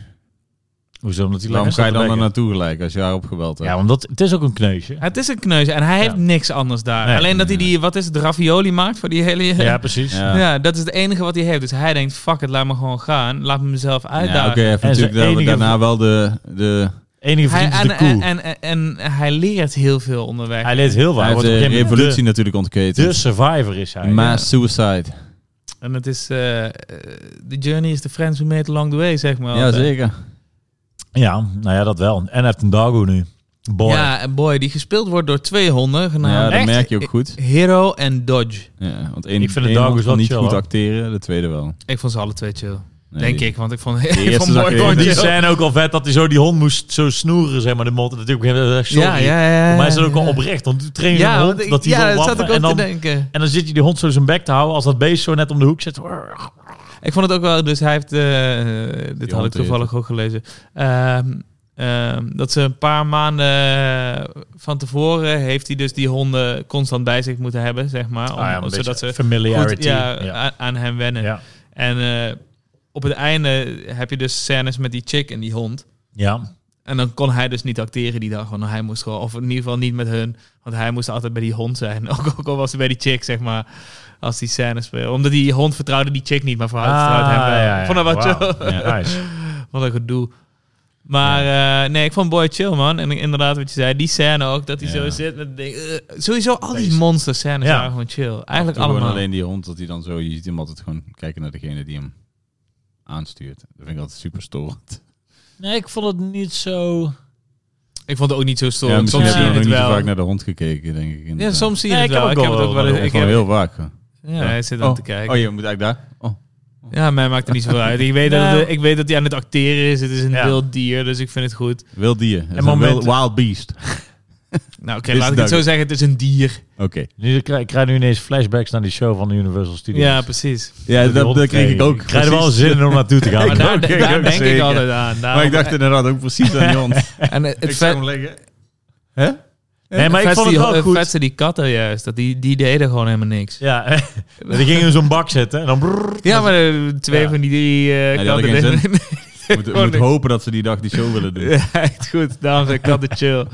Hoezo? Omdat hij Waarom lekker ga je dan staat er te naartoe gelijk als je haar opgebeld bekken. hebt? Ja, omdat het is ook een kneusje. Het is een kneus en hij heeft Ja. niks anders daar. Nee. Alleen dat hij die, wat is het, ravioli maakt voor die hele... Ja, precies. Ja. Ja. dat is het enige wat hij heeft. Dus hij denkt, fuck it, laat me gewoon gaan. Laat me mezelf Ja, oké, uitdagen. hij heeft En natuurlijk zijn da- enige daarna wel de... de Enige Hij, vriend is en, dus de koe. en, en, en, hij leert heel veel onderweg. hij leert heel veel. Hij hij heeft wordt op de een gegeven moment revolutie natuurlijk ontketend. De, de survivor is hij. Mass suicide. En het is... eh, eh, the journey is the friends we made along the way, zeg maar. Ja, zeker. Ja, nou ja, dat wel. En hij heeft een Dago nu. Boy. Ja, en boy, die gespeeld wordt door twee honden Ja, genaamd dat echt? merk je ook goed. Hero en Dodge. Ja, want één, Ik vind de één Dago's hond wel kon niet chill, goed hoor. acteren, de tweede wel. Ik vond ze alle twee chill. Nee, denk die- ik, want ik vond, eerste ik vond zag boy ik gewoon even Die chill. zijn ook al vet dat hij zo die hond moest zo snoeren, zeg maar. De mot. Natuurlijk, sorry. Ja, ja, ja, ja. Voor mij is dat ook ja. al oprecht. Want toen train je Ja, een want hond, ik- dat hij ja, wil dat zat waffen. ik ook En te dan, denken. en dan zit je die hond zo zijn bek te houden als dat beest zo net om de hoek zit. Ik vond het ook wel, dus hij heeft, eh, eh, dit had ik hond toevallig ook gelezen, Ehm, ehm, dat ze een paar maanden van tevoren heeft hij dus die honden constant bij zich moeten hebben, zeg maar, om- Ah ja, een zodat beetje ze familiarity. goed ja, ja. Aan, aan hem wennen. Ja. En eh, op het einde heb je dus scènes met die chick en die hond. Ja. En dan kon hij dus niet acteren die dag, want hij moest gewoon, of in ieder geval niet met hun, want hij moest altijd bij die hond zijn. Ook, ook al was hij bij die chick, zeg maar, als die scènes speelde. Omdat die hond vertrouwde die chick niet, maar voor haar Ah, vertrouwde Ah, hem eh, wel. Ik Vond dat wel Wauw. chill. Ja, nice. Wat een gedoe. Maar eh, nee, ik vond Boy chill, man. En inderdaad, wat je zei, die scène ook, dat hij Ja. zo zit met... dingen. eh, sowieso, al die Deze. monster scènes Ja. waren gewoon chill. Eigenlijk Toen allemaal. Gewoon alleen die hond, dat hij dan zo, je ziet hem altijd gewoon kijken naar degene die hem aanstuurt. Dat vind ik altijd super storend. Nee, ik vond het niet zo... Ik vond het ook niet zo ja, storend. misschien soms heb je zie ja. je nog niet zo je het wel. vaak naar de hond gekeken, denk ik. Ja, inderdaad. soms zie je Ja, het ik heb wel. ook Ik heb het wel ook wel wat over eens... Ik Gewoon heb, heel vaak. gewoon. ja, hij zit aan oh, te kijken. Oh, je moet eigenlijk daar. Oh. Ja, Nou. mij maakt het niet zo uit. Ik weet, dat het- ik weet dat hij aan het acteren is. Het is een Ja. wild dier, dus ik vind het goed. Wild dier. Dat is een momenten. wild- wild beast. Nou, oké, Dit laat is ik het zo duidelijk. zeggen. Het is een dier. Oké. Nu, ik, krijg, ik krijg nu ineens flashbacks naar die show van de Universal Studios. Ja, precies. Ja, Die dat, hond dat kreeg ik ook. Ik krijg er wel Precies. zin in om naartoe te gaan. Maar Maar daar, ook, daar ook denk ik zeker. altijd aan. Maar Daarom- ik dacht inderdaad ook precies aan die hond. en het, ik feit- zag hem liggen. Hè? Nee, maar ik Vetste vond het die- wel eh, goed. vetste die katten juist, dat die, die deden gewoon helemaal niks. Ja, Ja, die gingen in zo'n bak zitten en dan... brrrr. maar eh, twee Ja. van die drie eh, Ja, die hadden katten geen deden zin. We moeten- we moeten hopen dat ze die dag die show willen doen. Ja, echt goed. Daarom zijn katten chill.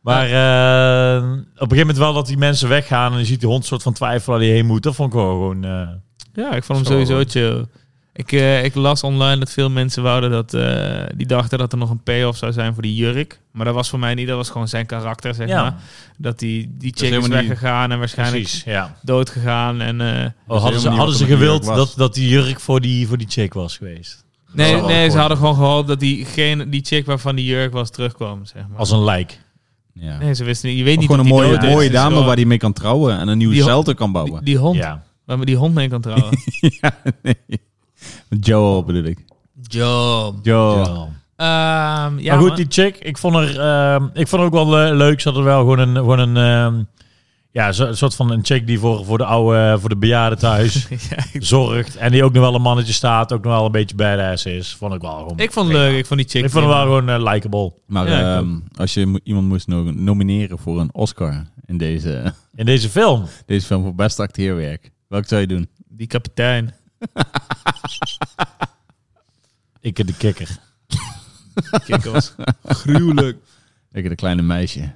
Maar eh, op een gegeven moment wel dat die mensen weggaan en je ziet die hond soort van twijfel waar die heen moet. Dat vond ik wel gewoon... eh, Ja, ik vond hem Zo. sowieso chill. Ik, eh, ik las online dat veel mensen wouden dat... eh, die dachten dat er nog een payoff zou zijn voor die jurk. Maar dat was voor mij niet. Dat was gewoon zijn karakter, zeg ja, maar. Dat die, die is chick is, helemaal niet- weggegaan en waarschijnlijk precies. Ja. doodgegaan. En, eh, Oh, hadden ze, helemaal niet hadden wat ze er met die gewild jurk was. dat, dat die jurk voor die, voor die chick was geweest? nee, wel nee ze akkoord. hadden gewoon gehoopt dat diegene, die chick waarvan die jurk was terugkwam, zeg maar. Als een lijk. Ja. Nee, ze wisten niet. Je weet Of niet gewoon een of die mooie, dood is. mooie Het is dame gewoon- waar die mee kan trouwen en een nieuwe Die ho- shelter kan bouwen. Die, die hond. Ja. Waar we die hond mee kan trouwen. ja, nee. Joel bedoel ik. Job. Joel. Ehm, Ja. ja, maar goed, man. die chick, ik vond er, ehm, ik vond er ook wel le- leuk. Ze hadden wel gewoon een, gewoon een ehm, ja, zo- een soort van een chick die voor, voor de oude, voor de bejaarden thuis Ja, ik- zorgt. En die ook nog wel een mannetje staat, ook nog wel een beetje badass is. Vond ik wel gewoon. ik vond het leuk. Ik vond die chick. ik vond hem wel gewoon eh, likable. Maar Ja, ik ehm, als je mo- iemand moest no- nomineren voor een Oscar in deze, In deze film. deze film voor beste acteerwerk, welk zou je doen? Die kapitein. Ik en de kikker. Kijk, was Gruwelijk. Ik de kleine meisje.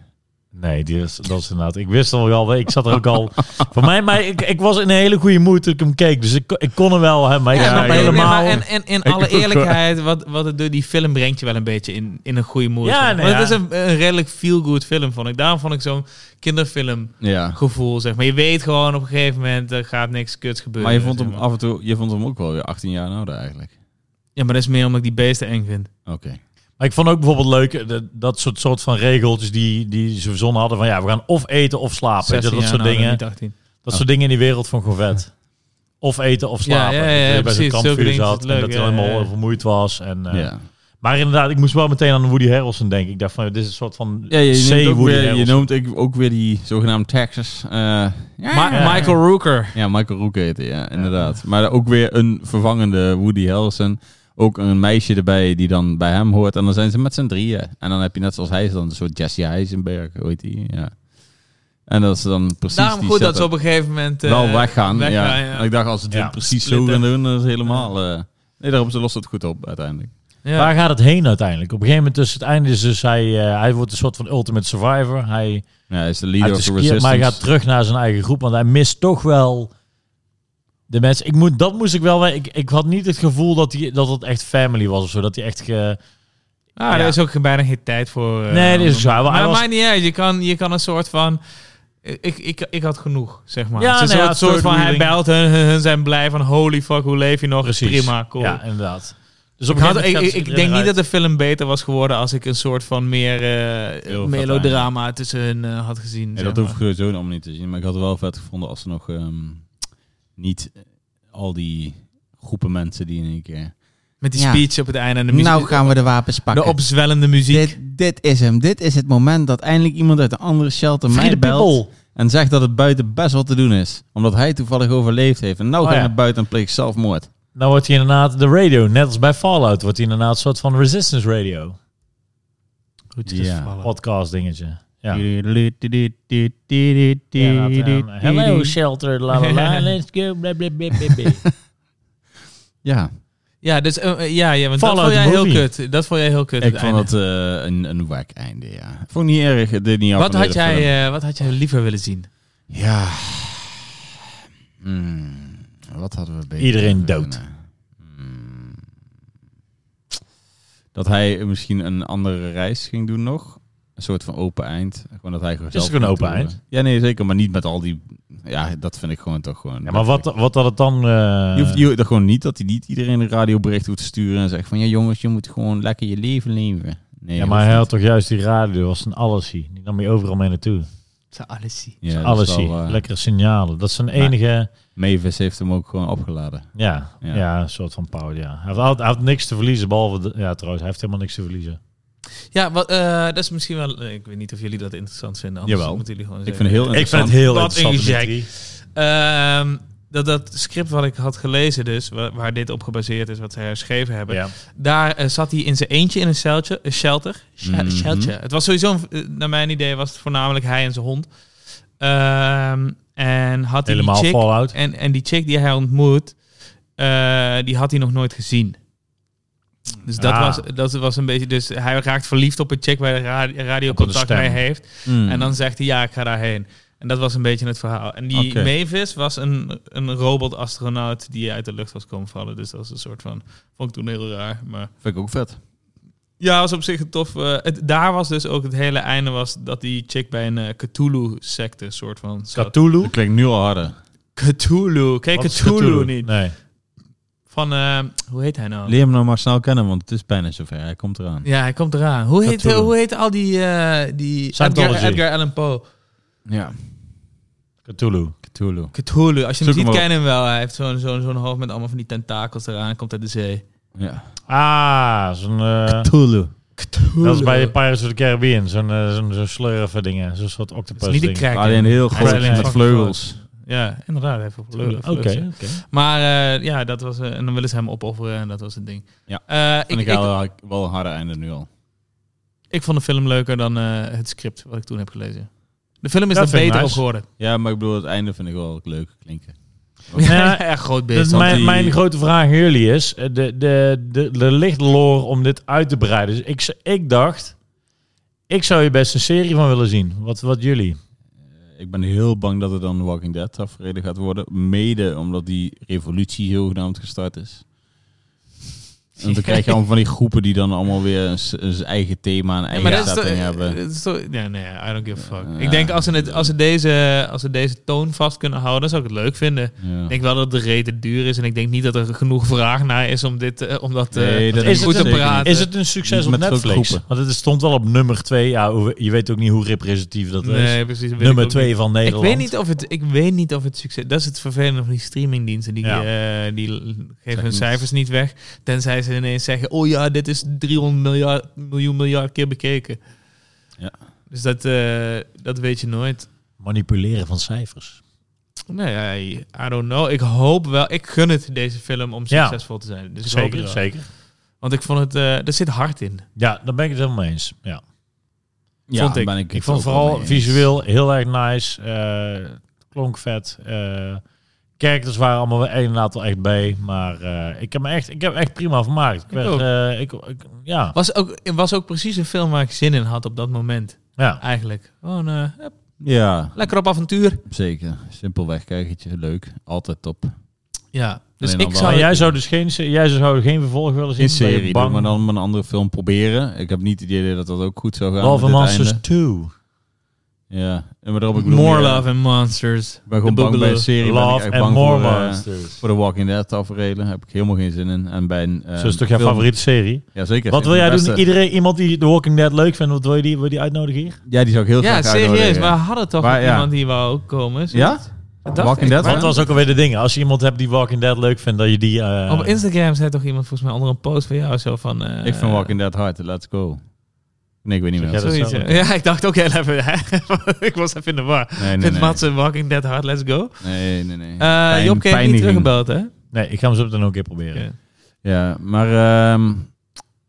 Nee, die is, dat is inderdaad. Ik wist al wel, ik zat er ook al. Voor mij, maar ik, ik was in een hele goede moed toen ik hem keek. Dus ik, kon- ik kon hem wel, hè, maar ik Ja, snap maar, nee, helemaal. maar en, en in alle eerlijkheid, wat, wat het door die film brengt je wel een beetje in, in een goede moed. Ja, Want nee, het ja. is een, een redelijk feel-good film, vond ik. Daarom vond ik zo'n kinderfilm Ja. gevoel, zeg maar. Je weet gewoon op een gegeven moment, er gaat niks kuts gebeuren. Maar je vond zeg hem af en toe, je vond hem ook wel weer 18 jaar ouder eigenlijk. Ja, maar dat is meer omdat ik die beesten eng vind. Oké. Maar ik vond ook bijvoorbeeld leuk eh, dat, dat soort, soort van regeltjes die, die ze verzonnen hadden. Van ja, we gaan of eten of slapen. Ah, Weet je, dat 16 jaar soort en ouder, dingen. nou, niet 18. Dat soort dingen in die wereld van gewoon vet. Of eten of slapen. Ja, ja, Dat je bij zo'n ja, precies. Zulke kampvuur dingen is zat het en leuk, dat hij ja, helemaal ja, ja. vermoeid was. En, eh, ja. Maar inderdaad, ik moest wel meteen aan Woody Harrelson denken. Ik dacht van, dit is een soort van Ja, je C-Woody neemt, ook weer, je Harrelson. noemt ik- ook weer die zogenaamde Texas. eh, Ma- Ja. Michael Rooker. ja, Michael Rook heette, ja, inderdaad. Maar ook weer een vervangende Woody Harrelson. Ook een meisje erbij die dan bij hem hoort. En dan zijn ze met z'n drieën. En dan heb je net zoals hij is dan een soort Jesse Heisenberg, hoe heet die? Ja. En dat ze dan precies Daarom die goed dat ze setup op een gegeven moment... eh, wel weggaan. ja. ja. Ik dacht, als ze het Ja. precies zo Splitten. gaan doen, dan is het helemaal... eh, nee, daarom ze lossen het goed op uiteindelijk. Ja. Waar gaat het heen uiteindelijk? Op een gegeven moment tussen het einde is dus hij, eh, hij wordt een soort van ultimate survivor. Hij, Ja, hij is de hij leader of the skiert, resistance. maar hij gaat terug naar zijn eigen groep, want hij mist toch wel de mensen. Ik moet, dat moest ik wel. Ik, ik had niet het gevoel dat, hij, dat het echt family was of zo. Dat hij echt. Ge, Ah, Ja. er is ook geen- bijna geen tijd voor. eh, Nee, dat is ook zo. Hij Maar het was- maakt niet uit. Je kan, je kan een soort van... Ik, ik, ik had genoeg, zeg maar. Ja, het is een nou ja, soort, soort van, hij third belt hun, hun hun zijn blij van... Holy fuck, hoe leef je nog? Prima, cool. Ja, inderdaad. Dus op Ik, een had, gegeven ik, moment ik, gaat ik ze denk erin niet dat uit. de film beter was geworden als ik een soort van meer eh, Heel melodrama tussen hun eh, had gezien. Ja, zeg dat maar. hoef ik sowieso allemaal niet te zien. Maar ik had het wel vet gevonden als ze nog ehm, niet eh, al die groepen mensen die in één keer... Met die Ja. speech op het einde en de muziek. Nou gaan we de wapens pakken. de opzwellende muziek. dit, dit is hem. Dit is het moment dat eindelijk iemand uit een andere shelter Free mij the belt. people. En zegt dat het buiten best wat te doen is. Omdat hij toevallig overleefd heeft. En nou Oh ga je ja. naar buiten en pleeg zelfmoord. Nou wordt hij inderdaad de radio, net als bij Fallout, wordt hij inderdaad een soort van resistance radio. Goed, Ja. gevallen. Podcast dingetje. Ja. Ja, Inderdaad, ehm, Hello shelter, la la la, let's go, blah, blah, blah, blah, blah. ja. Ja, dus, eh, eh, ja, ja want dat Fallout vond jij heel movie. kut. Dat vond jij heel kut. ik het vond einde. dat eh, een, een wack einde, ja. Vond ik niet erg, het deed niet af wat, van de had hele film. jij, eh, wat had jij liever willen zien? Ja. Hmm. Wat hadden we beter Iedereen kunnen? dood. Hmm. Dat hij misschien een andere reis ging doen nog. Een soort van open eind. Gewoon dat hij gewoon Is er zelf een ging open toeren. eind? Ja, nee, zeker. Maar niet met al die... Ja, dat vind ik gewoon toch gewoon... Ja, maar wat, wat had het dan... eh, Je hoeft je, dat gewoon niet dat hij niet iedereen een radiobericht hoeft te sturen en zegt van ja jongens, je moet gewoon lekker je leven leven. Nee, ja, hoeft maar hij niet. had toch juist die radio, was een allesie. Die nam je overal mee naartoe. Zo, alles zien. ja, dat is allesie, wel, eh, lekkere signalen. Dat is zijn Maar- enige... Mavis heeft hem ook gewoon opgeladen. Ja, Ja. ja. een soort van power, ja. Hij had, al- hij had niks te verliezen, behalve... De, ja, trouwens, hij heeft helemaal niks te verliezen. Ja, wat, eh, dat is misschien wel... eh, Ik weet niet of jullie dat interessant vinden. Anders Jawel. Moeten jullie gewoon Ik vind zeggen. het heel interessant. heel Wat een Ehm, dat, dat script wat ik had gelezen dus, wa- waar, dit op gebaseerd is, wat ze herschreven hebben. Ja. Daar eh, zat hij in zijn eentje in een celtje, een shelter. Sh- Mhm. shelter. Het was sowieso, een- eh, naar mijn idee, was het voornamelijk hij en zijn hond. Ehm, en had hij Helemaal die chick, Fallout. en, en die chick die hij ontmoet, eh, die had hij nog nooit gezien. Dus dat, Ah. was, dat was een beetje... Dus hij raakt verliefd op een chick waar hij ra- radio Op een contact stem. mee heeft. Mm. Hmm. En dan zegt hij, ja, ik ga daarheen. En dat was een beetje het verhaal. En die Oké. Mavis was een, een robot-astronaut die uit de lucht was komen vallen. Dus dat is een soort van... Vond ik toen heel raar, maar... vind ik ook vet. Ja, was op zich een tof... eh, het, daar was dus ook het hele einde was dat die chick bij een eh, Cthulhu-secte soort van... zat. Cthulhu? Dat klinkt nu al harder. Cthulhu! Kijk, Wat is Cthulhu, niet. Nee. Van, eh, hoe heet hij nou? Leer hem nou maar snel kennen, want het is bijna zover. Hij komt eraan. ja, hij komt eraan. Hoe heet, Cthulhu. hoe heet al die... eh, die Edgar, Scientology. Edgar Allan Poe. Ja. Cthulhu. Cthulhu. Cthulhu. Als je hem Zoek ziet, hem op. ken hem wel. Hij heeft zo'n zo'n zo'n hoofd met allemaal van die tentakels eraan. Komt uit de zee. Ja. Ah, zo'n... eh, Cthulhu. dat is bij de Pirates of the Caribbean. Zo'n eh, zo'n zo'n slurven dingen. Zo'n soort octopus Het is niet een ding. crack. Alleen heel Hij is groot alleen met fucking vleugels. Ja, inderdaad. Hij heeft wel vleugels. Oké. vleugels, ja. oké. Maar eh, ja, dat was... eh, en dan willen ze hem opofferen en dat was het ding. Ja. Eh, ik, Vind ik, ik, ik, wel- wel een harde einde nu al. vond de film leuker dan eh, het script wat ik toen heb gelezen. De film is Dat er vind ik beter nice. op geworden. Ja, maar ik bedoel, het einde vind ik wel leuk klinken. Ja, Echt groot Dus beest. mijn, die- mijn grote vraag aan jullie is, eh, de, de, de, de lichtloor om dit uit te breiden. Dus ik, z- ik dacht, ik zou hier best een serie van willen zien. Wat, wat jullie? Ik ben heel bang dat het dan Walking Dead tafereel gaat worden. Mede omdat die revolutie zogenaamd gestart is. En dan krijg je allemaal van die groepen die dan allemaal weer een s- een eigen thema, een Ja, eigen maar dat is toch... setting hebben. dat is toch- nee, nee, I don't give a fuck. Ja. ik denk als ze, het, als, ze deze, als ze deze toon vast kunnen houden, dan zou ik het leuk vinden. Ja. Ik denk wel dat de reden duur is en ik denk niet dat er genoeg vraag naar is om dit eh, om dat, eh, Nee, dat is goed het te zeker praten. Is het een succes Niet op met zulke Netflix? groepen. Want het stond wel op nummer 2. Ja, hoe- je weet ook niet hoe representatief dat is. nee, precies. dat weet ik Nummer ook 2 van niet. Nederland. Ik weet niet of het, ik weet niet of het succes. Dat is het vervelende van die streamingdiensten. Die, eh, die l- geven hun niet. cijfers niet weg, tenzij ze ineens zeggen: oh ja, dit is 300 miljard miljoen miljard keer bekeken. Ja. Dus dat, eh, dat weet je nooit. Manipuleren van cijfers. Nou ja, I don't know. Ik hoop wel. Ik gun het deze film om Ja. succesvol te zijn. Dus ik hoop het wel. zeker. Want ik vond het. eh er zit hard in. Ja, daar ben ik het helemaal mee eens. Ja. Ja, vond ik. ben Ik, het vond ook wel vooral mee eens. visueel heel erg nice. eh, klonk vet. eh, characters waren allemaal wel een aantal echt bij. Maar eh, ik, heb me echt, ik heb echt prima vermaakt. Ik Ik werd, ook. eh, ik, ik- ja, Was ook, was ook precies een film waar ik zin in had op dat moment. ja. Eigenlijk. Gewoon eh, hup, Ja, lekker op avontuur. zeker. Simpelweg kijkertje, leuk. Altijd top. Ja. Dus Alleen ik dan zou... Maar jij zou dus geen, jij zou geen vervolg willen zien. In Ben je serie, doe bang. maar dan een andere film proberen. Ik heb niet het idee dat dat ook goed zou gaan. Love met and dit Monsters einde. 2. Ja, en maar daarop ik bedoel More meer, Love and Monsters. Ik ben gewoon The bang bij een Boogaloo. serie. ben ik Love echt and bang More voor, eh, Monsters. voor de Walking Dead tafereelen. Daar heb ik helemaal geen zin in. En bij een, eh, Zo is toch jouw film- favoriete serie? Ja, zeker. Wat Een wil van jij de doen? beste. Iedereen, iemand die The Walking Dead leuk vindt, wat wil je die, wil je die uitnodigen hier? Ja, die zou ik heel Ja, graag serieus. uitnodigen. We hadden toch Maar ja. iemand die wou ook komen. zo? Ja? Dat dacht Walking Dead ik. Want fan? dat was ook alweer de ding. Als je iemand hebt die Walking Dead leuk vindt, dat je die... eh, Op Instagram zei toch iemand volgens mij onder een post van jou zo van... eh, Ik vind Walking Dead hard. Let's go. Nee, ik weet niet Zeg meer. jij wat- dat? Zoiets, zou- ja. Ja, ik dacht ook heel even. hè. ik was even in de war. Nee, nee, Vindt nee. Matze Walking Dead Hard, let's go. Nee, nee, nee. Eh Pijn- Job kreeg niet pijniging. teruggebeld, hè? Nee, ik ga hem zo meteen ook een keer proberen. Ja. Ja, maar... ehm,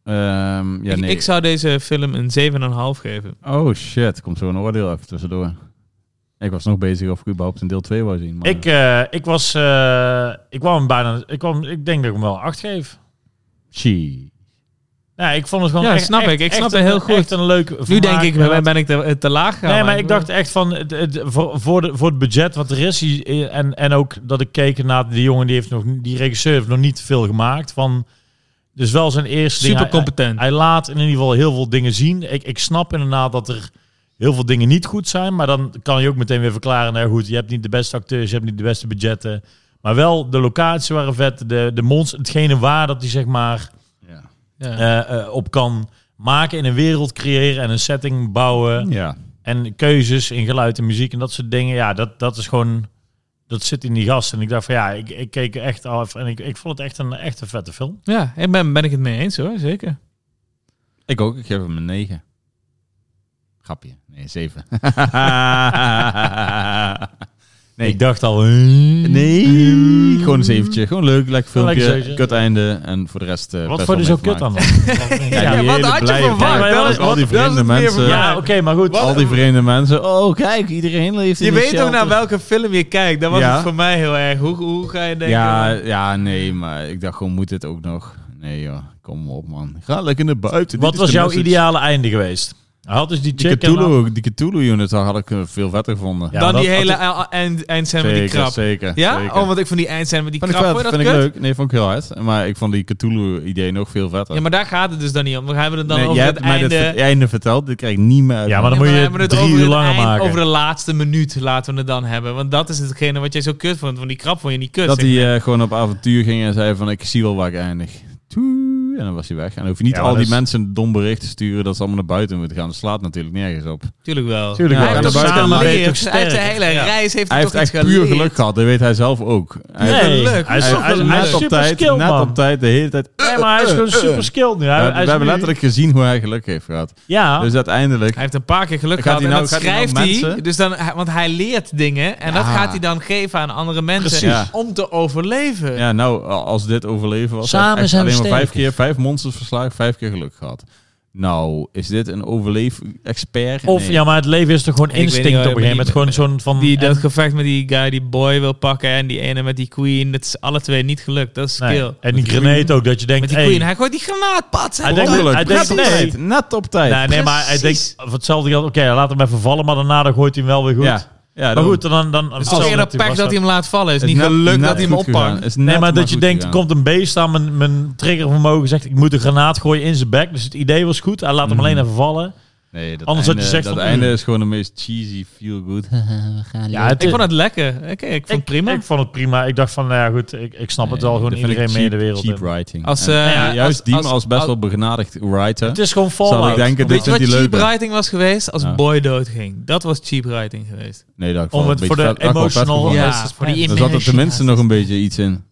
ehm, ja, ik, nee. ik zou deze film een 7,5 geven. Oh shit, komt zo'n oordeel even tussendoor. Ik was nog bezig of ik überhaupt een deel 2 wou zien. Maar... Ik, eh, ik was... eh, ik kwam hem bijna... Ik, kwam, ik denk dat ik hem wel acht geef. Chi. Ja, ik vond het gewoon Ja, echt, snap echt- ik. Ik echt snap een- het heel goed. Echt een leuk Nu vermaak. denk ik, ben, ben ik te, te laag gaan. Nee, maar ik dacht echt van, het, het- voor, voor, de, voor het budget wat er is, die- en, en ook dat ik keek naar die jongen, die, heeft nog, die regisseur heeft nog niet veel gemaakt. Van, dus wel zijn eerste ding. Super Hij- competent. Hij laat in ieder geval heel veel dingen zien. Ik, ik snap inderdaad dat er heel veel dingen niet goed zijn. Maar dan kan je ook meteen weer verklaren. Nou goed, je hebt niet de beste acteurs, je hebt niet de beste budgetten. Maar wel de locaties waren vet. De, de monster, hetgene waar dat hij zeg maar Ja. Ja. eh, eh, op kan maken. In een wereld creëren en een setting bouwen. ja. En keuzes in geluid en muziek en dat soort dingen. Ja, dat, dat is gewoon... Dat zit in die gast. En ik dacht van ja, ik, ik keek er echt af. En ik, ik vond het echt een, echt een vette film. ja, ik ben, ben ik het mee eens hoor, zeker. Ik ook, ik geef hem een 9. Grapje. Nee, 7. nee, Ik dacht al... "Hmm." nee. Gewoon een zeventje. Gewoon leuk, lekker Gewoon lekker filmpje. zeventje. Kut einde. En voor de rest. eh, Wat best voor je wel zo mee kut dan? vermaakt. ja, Ja, ja, die wat hele had je blije verwacht? vrouw, Ja, ook wat- al die wat- dat is vreemde het meer mensen. verwacht. oké, maar goed. Al die vreemde mensen. Oh, kijk, iedereen leeft in Je een weet ook shelter. naar welke film je kijkt. Dat was Ja. het voor mij heel erg. Hoe, hoe ga je denken? Ja, ja, nee, maar ik dacht gewoon, moet dit ook nog? Nee joh, kom op man. Ga lekker naar buiten. Wat Dit is was de jouw message. ideale einde geweest? Hij had dus die Die chick... en dan- Cthulhu, die Cthulhu unit had ik eh, veel vetter gevonden. Ja, dan maar die dat- hele e- eind, eindscène met die zeker, krab. zeker. Ja? zeker. Oh, want ik vond die eindscène met die vond ik krab. vet, Vond je dat vind ik kut? leuk. Nee, vond ik heel hard. Maar ik vond die Cthulhu-idee nog veel vetter. Ja, maar daar gaat het dus dan niet om. We hebben het dan nee, over jij het hebt mij einde... dit ver- einde verteld, dit krijg ik niet meer uit. Ja, maar dan moet Ja, maar je we hebben het drie over uur het langer eind- maken. Over de laatste minuut laten we het dan hebben. Want dat is hetgene wat jij zo kut vond. Want die krap vond je niet kut. Dat zeg hij eh, gewoon op avontuur ging en zei van, ik zie wel waar ik eindig. Toei, En dan was hij weg. En dan hoef je niet Ja, maar al die dat is- mensen een dom bericht te sturen dat ze allemaal naar buiten moeten gaan. Dat slaat natuurlijk nergens op. Tuurlijk wel. Tuurlijk Ja, hij wel. en heeft de toch buiten- staan maar ben je leren. toch Hij heeft de sterk? hele Ja. reis heeft Hij hij toch heeft echt iets puur geleerd. geluk gehad, dat weet hij zelf ook. Hij Nee, heeft- Hij is leuk. Hij is, Hij, hij hij is net op super tijd, skill, net man. Eh, op tijd, de hele tijd. Nee, maar hij is gewoon super skill nu. Hij, we hij is hebben nu- letterlijk gezien hoe hij geluk heeft gehad. Ja, Dus uiteindelijk... Hij heeft een paar keer geluk Gaat gehad. hij en nou- dat gaat hij nou schrijft hij. mensen? dus dan, hij- want hij leert dingen. En dat Ja. gaat hij dan geven aan andere mensen. Precies. Om te overleven. Ja, nou, als dit overleven was, Samen had hij echt zijn we alleen maar vijf sterker. keer, vijf monsters verslagen, vijf keer geluk gehad. Nou, is dit een overleef-expert? of Nee. ja, maar het leven is toch gewoon Ik weet niet instinct op waar- een gegeven moment. Gewoon zo'n van... Die, dat en- gevecht met die guy die boy wil pakken. En die ene met die queen. Dat is alle twee niet gelukt. Dat is nee. skill. En die grenade ook, dat je Met denkt... die hey, queen. Hij gooit die granaat. Pat. Hij denkt- Ongeluk. hij denkt- net, op nee. tijd, net op tijd. nee, nee, maar hij Precies. denkt... Voor hetzelfde geld, oké, laat hem even vallen, maar daarna dan gooit hij hem wel weer goed. Ja, ja, Maar daarom. goed, dan... dan, dan Het is meer dat pech dat hij hem laat vallen. Het is niet net- geluk net dat hij hem goed oppakt. gegaan. Is net Nee, maar dat je goed denkt, er gegaan. komt een beest aan. Mijn, mijn triggervermogen zegt, ik moet een granaat gooien in zijn bek. Dus het idee was goed. Hij laat Mhm. hem alleen even vallen. Nee, dat Anders had einde, je gezegd dat van, einde mm. is gewoon de meest cheesy feel-good. We gaan Ja, het, Ik vond het lekker. Oké, ik vond het prima. Ik vond het prima. Ik dacht van, nou ja, goed, ik, ik snap het wel. Gewoon iedereen mee in de wereld. Cheap in. writing. als, En eh, ja, juist als- die als- als, best als- wel begenadigd writer. Het is gewoon Zal ik Fallout. denken, dit Weet je vindt wat hij cheap leuker. writing was geweest? Als Ja. Boy doodging. Dat was cheap writing geweest. Nee, dat ik Om vond het een voor beetje de vet- dat ik wel vet emotional... gevonden. Ja, resistance. voor die Daar zat er tenminste nog een beetje iets in.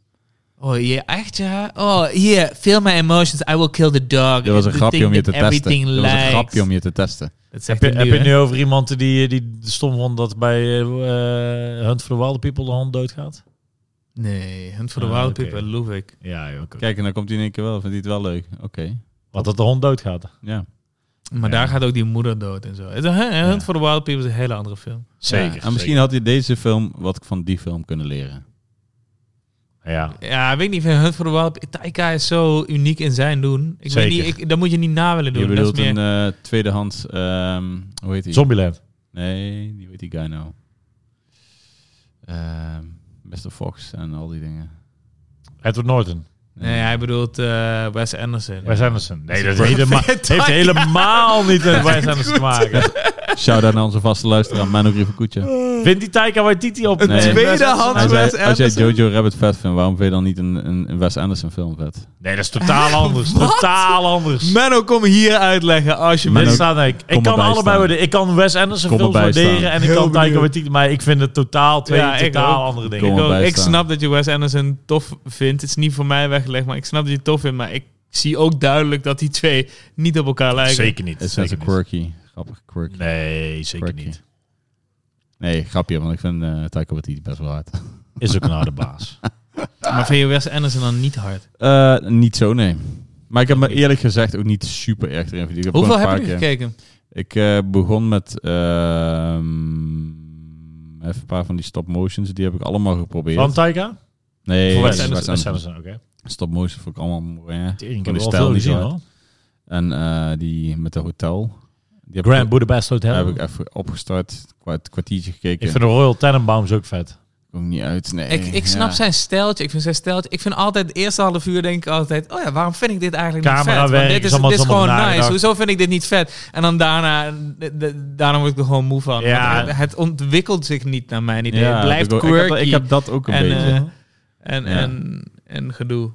Oh, ja, echt ja? Oh, hier, feel my emotions, I will kill the dog. Er was een The grapje thing om je te that testen. everything Er was een likes. grapje om je te testen. Dat zegt Heb je, hij heb nu, je hè? nu over iemand die, die stom vond dat bij eh, eh, Hunt for the Wild People de hand doodgaat? Nee, Hunt for the Ah, Wild oké. People, loof ik. Ja, ook. Kijk, en dan komt hij in één keer wel. Vindt hij het wel leuk? Oké. Want dat de hond doodgaat. Ja. Maar Ja. daar gaat ook die moeder dood en zo. Het- Hunt Ja. for the Wild People is een hele andere film. Ja, En misschien had hij deze film wat ik van die film kunnen leren. Ja. Ja, weet ik niet. Ik vind Hunt for the Wild... Taika is zo uniek in zijn doen. Ik Zeker. weet niet, ik, dat moet je niet na willen Je doen. Dat bedoelt is meer, een eh, tweedehands... ehm, hoe heet die? Zombieland. Nee, die weet die guy nou. Ehm Mr. Fox en al die dingen. Edward Norton. nee, hij bedoelt eh, Wes Anderson. Wes Anderson. Nee, dat Ja. heeft helemaal- heeft Taika. helemaal niet met Wes Anderson te maken. Shout-out naar onze vaste luisteraar, Manu Rivacuccia. Vindt die Taika Waititi op? Een Nee. eh, Wes tweedehands Anderson? Hij zei, Wes als jij Anderson. Jojo Rabbit vet vindt, waarom vind je dan niet een, een, een Wes Anderson film vet? Nee, dat is totaal anders. Totaal anders. Menno, kom hier uitleggen Dit alsjeblieft. Menno, staat, ik, ik kom kan erbij allebei staan. worden. Ik kan Wes Anderson Kom films erbij staan. waarderen en ik Heel kan Taika benieuwd. Waititi, maar ik vind het totaal twee Ja, ik totaal ook. andere dingen. Kom Ik, ook. erbij ik staan. snap dat je Wes Anderson tof vindt. Het is niet voor mij weggelegd, maar ik snap dat je het tof vindt. Maar ik zie ook duidelijk dat die twee niet op elkaar lijken. Zeker niet. Het is zeker een niet. quirky. Grappig quirky. Nee, zeker Quirky. niet. Nee, grapje, want ik vind eh Taika Waititi best wel hard. Is ook een harde baas. Maar vind je Wes Anderson dan niet hard? Eh, niet zo, nee. Maar ik heb me eerlijk gezegd ook niet super erg erin verdiend. Ik heb Hoeveel gewoon een heb paar je keer- gekeken? Ik eh, begon met ehm, even een paar van die stop-motions. Die heb ik allemaal geprobeerd. Van Taika? nee, Voor Wes Wes Anderson. Wes Anderson. Anderson, oké. Stop-motion vond ik allemaal mooi. hè. Tering, Ik heb Van die al stijl veel die gezien zo- hoor. En eh, die met de hotel. Die heb Grand ik, Budapest Hotel. heb ik even opgestart. Kwart, kwartiertje gekeken. Ik vind de Royal Tenenbaums ook vet. Kom niet uit. Nee, Ik, ik snap ja. zijn steltje. Ik vind zijn steltje. Ik vind altijd het eerste half uur denk ik altijd. Oh ja, waarom vind ik dit eigenlijk niet vet? Camerawerk Want dit is is, allemaal- dit is is allemaal gewoon nice. nagedacht. Hoezo vind ik dit niet vet? En dan daarna, de- de- daarna word ik er gewoon moe van. Ja. Want het- het ontwikkelt zich niet naar mijn idee. Ja, het blijft ik, ook- ik heb- quirky. Ik heb dat ook een en, beetje. eh, en, Ja. en, en gedoe.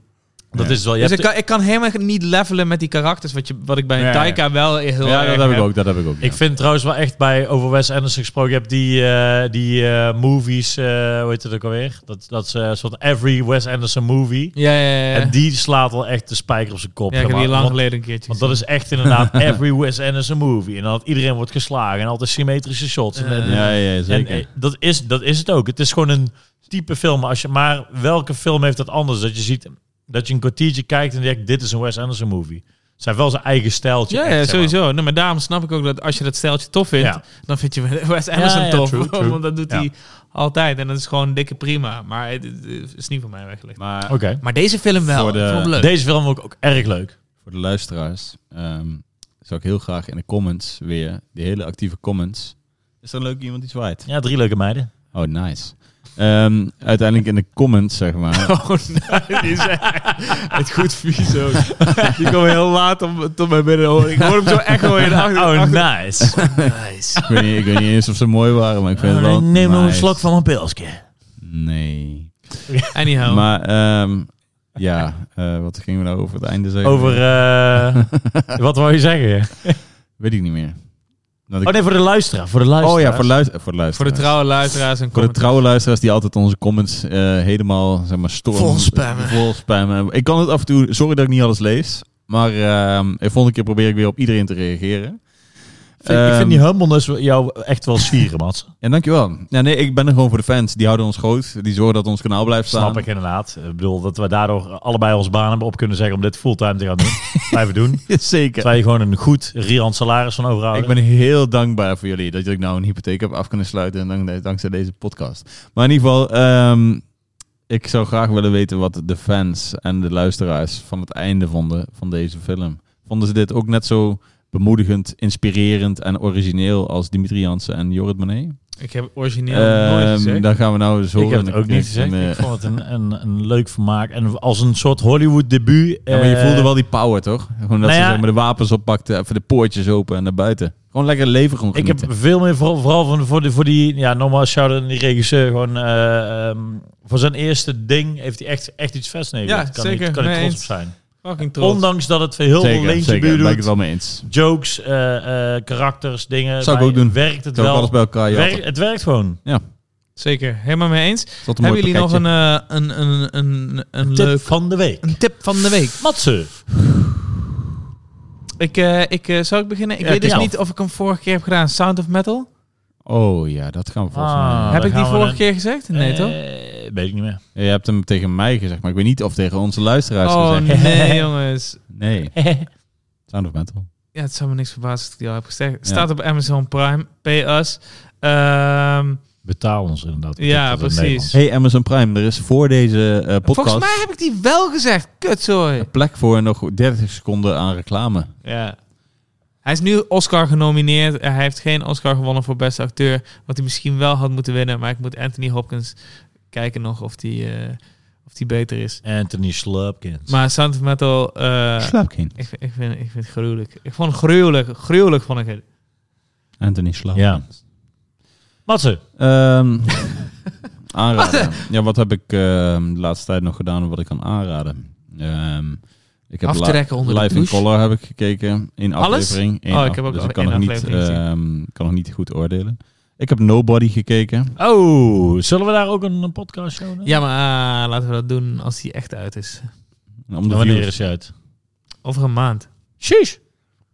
Dat Ja. is wel. Je Dus ik hebt- kan, ik kan helemaal niet levelen met die karakters. Wat, je, wat ik bij een Ja, ja. Taika wel heel ja, erg dat heb ik heb. ook. Dat heb ik ook. ik ja. vind trouwens wel echt bij over Wes Anderson gesproken. Je hebt die, eh, die eh, movies, eh, hoe heet het ook alweer? Dat, dat is eh, een soort every Wes Anderson movie. Ja, ja, ja. En die slaat al echt de spijker op zijn kop. ja, ik heb helemaal. die lang want, geleden een keertje want dat is echt inderdaad every Wes Anderson movie. En dat iedereen wordt geslagen en altijd symmetrische shots. En- Ja. en- ja, ja, En zeker. eh, dat is, dat is het ook. Het is gewoon een type film. Als je, maar welke film heeft dat anders? Dat je ziet dat je een kwartiertje kijkt en denkt: dit is een Wes Anderson movie. Het zijn wel zijn eigen stijltje. Ja, echt, ja, zeg maar. sowieso. Nee, maar daarom snap ik ook dat als je dat steltje tof vindt, Ja. dan vind je Wes Anderson ja, tof. true, true. Want dat doet Ja. hij altijd. En dat is gewoon dikke prima. Maar het, het is niet voor mij weggelegd. Maar Oké. Maar deze film wel. Voor de- Ik vond hem leuk. Deze film vond ik ook erg leuk. voor de luisteraars ehm, zou ik heel graag in de comments weer, die hele actieve comments. Is er leuk iemand die zwaait? Ja, drie leuke meiden. Oh, nice. Ehm, uiteindelijk in de comments, zeg maar. Oh, nee, die is echt- het goed vies ook. Die kwam heel laat om, tot mij binnen hoor. Ik hoor hem zo echt hoor in de achter. Oh, achter- nice. nice. ik, weet niet, ik weet niet eens of ze mooi waren, maar ik vind Oh, het wel. neem nog een nice. slok van mijn pilsje. Nee. Anyhow. Maar ehm, ja, eh, wat gingen we nou over het einde zeggen? Over. eh, wat wou je zeggen? Weet ik niet meer. Dat ik- Oh nee, voor de luisteraar. Voor de luisteraar. oh ja, voor, de luister, voor de voor de luisteraars. trouwe luisteraars en Voor de commentaar. trouwe luisteraars die altijd onze comments eh, helemaal zeg maar, stormen. Vol spammen. Vol spammen. Ik kan het af en toe, sorry dat ik niet alles lees. Maar ehm de volgende keer probeer ik weer op iedereen te reageren. ik Ehm, vind die humbleness jou echt wel schieren, Mats. Ja, dankjewel. Ja, nee, ik ben er gewoon voor de fans. Die houden ons groot. Die zorgen dat ons kanaal blijft staan. Snap ik inderdaad. Ik bedoel, dat we daardoor allebei ons baan hebben op kunnen zeggen om dit fulltime te gaan doen. Blijven doen. Zeker. Terwijl je gewoon een goed riant salaris van Ik overhouden. ben heel dankbaar voor jullie dat ik nou een hypotheek heb af kunnen sluiten. En dank, dankzij deze podcast. Maar in ieder geval, ehm, ik zou graag willen weten wat de fans en de luisteraars van het einde vonden van deze film. Vonden ze dit ook net zo bemoedigend, inspirerend en origineel als Dimitri Jansen en Jorrit Monet? Ik heb origineel nooit Ehm, gezegd. daar gaan we nou eens horen. ik heb het ook niet gezegd. eh, Ik vond het een, een, een leuk vermaak. En als een soort Hollywood debuut. Ja, maar je eh, voelde wel die power, toch? Gewoon dat nou ze ja. zeg maar, de wapens oppakten, even de poortjes open en naar buiten. Gewoon lekker leven gewoon Ik genieten. heb veel meer voor, vooral van, voor, die, voor die... Ja, normaal shout-out aan die regisseur. Gewoon eh, ehm, voor zijn eerste ding heeft hij echt, echt iets vets neergezet. Ja, kan zeker. Ik, kan ik Mee trots op eens. zijn. Fucking trots. Ondanks dat het heel veel zeker, leentje zeker. Daar buur ben ik het doet. wel mee eens. Jokes, eh, eh, karakters, dingen. Zou ik maar ook doen. Werkt het Zo wel. alles bij elkaar. jatten. Werkt- het werkt gewoon. Zeker. Helemaal mee eens. Tot een Hebben mooi jullie nog pakketje. een, eh, een, een, een, een Tip leuk van de week. Een tip van de week. Matze. Ik, eh, ik, eh, zal ik beginnen? Ik Ja, weet dus kies af. niet of ik hem vorige keer heb gedaan. Sound of Metal. eh, Oh ja, dat gaan we volgens Ah. mij. heb ik gaan die we vorige dan. keer gezegd? Nee, Eh, toch? Weet ik niet meer. Je hebt hem tegen mij gezegd, maar ik weet niet of tegen onze luisteraars Oh gezegd. nee, jongens. Nee. Sound of Metal. Ja, het zou me niks verbazen dat ik die al heb gezegd. Ja. Staat op Amazon Prime. Pay us. Ehm, Betaal ons inderdaad. Ja, Dat is in precies. Nederland. Hey Amazon Prime, er is voor deze eh, podcast Volgens mij heb ik die wel gezegd. Kutzooi. plek voor nog 30 seconden aan reclame. Ja. Hij is nu Oscar genomineerd. Eh, Hij heeft geen Oscar gewonnen voor beste acteur. Wat hij misschien wel had moeten winnen. Maar ik moet Anthony Hopkins kijken nog of die, eh, of die beter is. Anthony Slupkins. Maar Sound of Metal... eh, Slaapkin. ik, vind- ik, vind, ik vind het gruwelijk. Ik vond het gruwelijk. Gruwelijk vond ik het. Anthony Slaap. Ja. Matze, Ehm, aanraden. Ja, wat heb ik ehm, de laatste tijd nog gedaan en wat ik kan aanraden? Ehm, ik heb Aftrekken onder de Live in douche. Color heb ik gekeken. In Alles? aflevering. Eén Oh, ik af- heb ook dus al ik kan één nog, niet, aflevering gezien. ehm, kan nog niet goed oordelen. Ik heb Nobody gekeken. oh, zullen we daar ook een, een podcast show doen? Ja, maar ah, laten we dat doen als die echt uit is. Om de Wanneer views. is hij uit? Over een maand. Sheesh.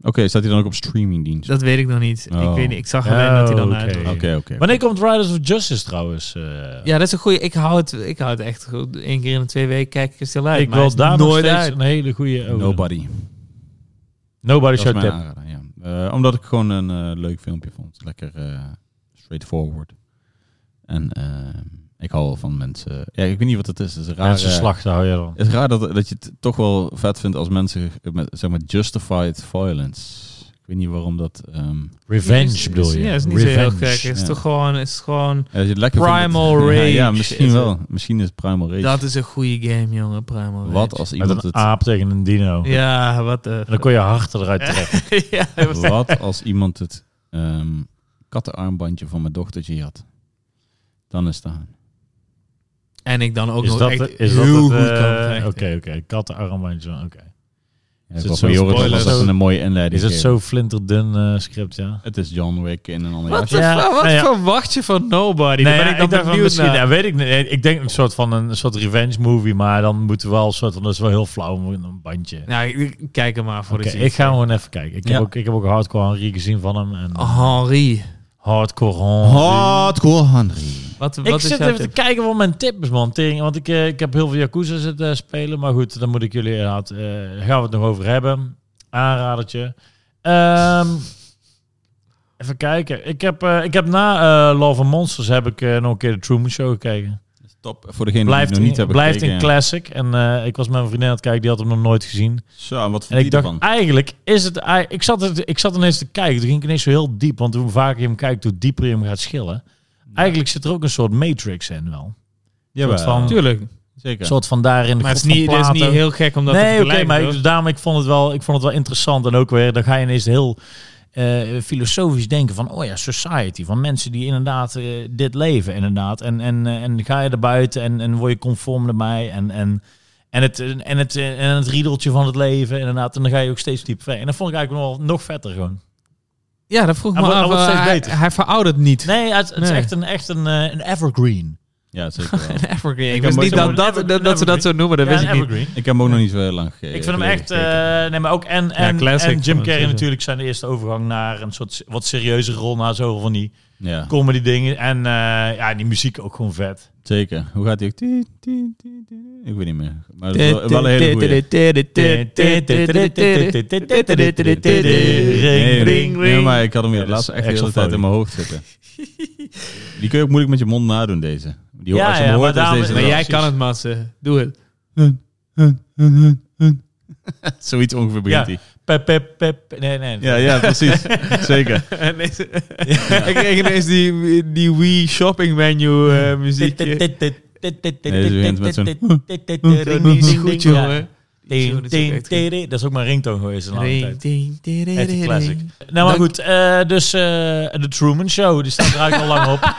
Oké, staat hij dan ook op streamingdienst? Dat weet ik nog niet. Oh. Ik weet niet. Ik zag Oh, alleen dat hij dan oké. uit was. Oké, oké. Wanneer komt Riders of Justice trouwens? eh? Ja, dat is een goeie. Ik hou het, ik hou het echt goed. Eén keer in de twee weken kijk ik er stil uit. ik maar hij wil is daar nog nooit steeds uit. een hele goede... oh, Nobody. Nobody Dat is Show mijn Tip. aanrader, ja. Eh, omdat ik gewoon een eh, leuk filmpje vond. Lekker eh, straightforward. En eh, ik hou wel van mensen... Ja, ik weet niet wat het is. Het is raar, Mensen eh, slachten hou je dan. het is raar dat, dat je het toch wel vet vindt als mensen eh, met, zeg maar, justified violence. Ik weet niet waarom dat... ehm, Revenge Is- is- bedoel je? Ja, is niet zo heel Revenge. gek. Het is ja. toch gewoon... Is gewoon ja, als je het lekker Primal vindt, Ja, Rage ja, is misschien wel. Misschien is het Primal Rage. dat is een goede game, jongen. Primal Rage. wat als Met iemand een het... aap tegen een dino. Ja, wat de... En dan kon je harten eruit trekken. ja, Wat als iemand het ehm, kattenarmbandje van mijn dochtertje had? Dan is dat... en ik dan ook Is nog dat, echt is dat heel het, goed eh, kan vechten. Oké, oké. Kattenarmbandje. Oké. Ja, Is is het het zo Joris was spoilers? dat een mooie inleiding. Is het geven. zo flinterdun eh, script, ja? Het is John Wick in een ander Wat, jasje. de Ja, fuck- wat nou ja. verwacht je van Nobody? Daar ben ik dan dacht van benieuwd misschien, naar. ja, weet ik niet. Nee, Ik denk een soort van een soort revenge movie, maar dan moeten we wel een soort van, dat is wel heel flauw, moet een bandje. Nou, ik- ik kijk er maar voor Oké, de ik ga gewoon even kijken. Ik, Ja. Ah. heb ook, ik heb ook Hardcore Henry gezien van hem. En Henri. Hardcore Henry. Hardcore Henry. Wat, wat ik is nou zit jouw even tip? te kijken wat mijn tip is, man. Tegen, want ik, eh, ik heb heel veel Yakuza zitten eh, spelen. Maar goed, dan moet ik jullie inderdaad... eh, gaan we het nog over hebben. Aanradertje. Ehm, even kijken. Ik heb, eh, ik heb na eh, Love and Monsters heb ik eh, nog een keer de Truman Show gekeken. Top voor degene die blijft het nog niet een, hebben blijft een gekeken. classic. En eh, ik was met mijn vriendin aan het kijken, die had hem nog nooit gezien. Zo, en wat En vond ik je dacht, ervan? eigenlijk is het... ei- Ik zat, het, ik zat ineens te kijken, toen ging ik ineens zo heel diep. Want hoe vaker je hem kijkt, hoe dieper je hem gaat schillen. Eigenlijk zit er ook een soort matrix in wel. Jawel, soort van- Tuurlijk. Zeker. Een soort van daarin de Maar het grot is van niet, het is niet Plato. heel gek om dat te Nee, oké, vergelijken. maar hoor. ik, daarom ik vond, het wel, ik vond het wel interessant. En ook weer, dan ga je ineens heel eh, filosofisch denken van... oh ja, society, van mensen die inderdaad eh, dit leven inderdaad. En, en, eh, en ga je er buiten en, en word je conform erbij. En, en, en, het, en, het, en het riedeltje van het leven inderdaad. En dan ga je ook steeds dieper verder. En dat vond ik eigenlijk nog, wel- nog vetter gewoon. Ja, dat vroeg Hij me wordt- af. hij wordt eh, steeds hij, beter. hij veroudert niet. Nee, het, het is Nee. echt een, echt een, eh, een evergreen. Ja, zeker wel. Een evergreen. heb Ik wist hem niet ook dat, zo- dat, dat, dat ze dat zo noemen, dat Ja, wist een ik niet. evergreen. ik heb hem ook nog niet zo heel lang gekeken. Ik vind hem echt, eh, nee, maar ook en, Ja, en, classic, en kan Jim ik Carrey zeggen. natuurlijk zijn de eerste overgang naar een soort s- wat serieuze rol naar zo van die ja, comedy dingen en eh, ja die muziek ook gewoon vet. zeker. Hoe gaat hij ook? Tien, tien, tien, tien. Ik weet niet meer. Maar dat is wel, wel een hele goeie. Nee, nee, nee, maar ik had hem weer de Ja, dat is laatste echt de hele Axel tijd in mijn hoofd zitten. Die kun je ook moeilijk met je mond nadoen, deze. Die, Ja, als je ja, maar hem hoort, is daarom- deze Maar Ja, wel. jij precies. kan het, Massen. Doe het. Zoiets ongeveer Ja. begint hij. Pep pep pep. Nee nee. Ja, ja, precies. Zeker. Ineens- Ik kreeg ineens die, die Wii shopping menu eh, muziekje. Nee, ze begint met zo'n- Dat is goed, jongen. Ding, Dat is ook ding, echt ding. Dat is ook mijn ringtone geweest de laatste tijd. Ding, ding, ding, ding, Echt een ding. classic. Nou, maar Dank- goed. eh, dus eh, de Truman Show, die staat er eigenlijk al lang op.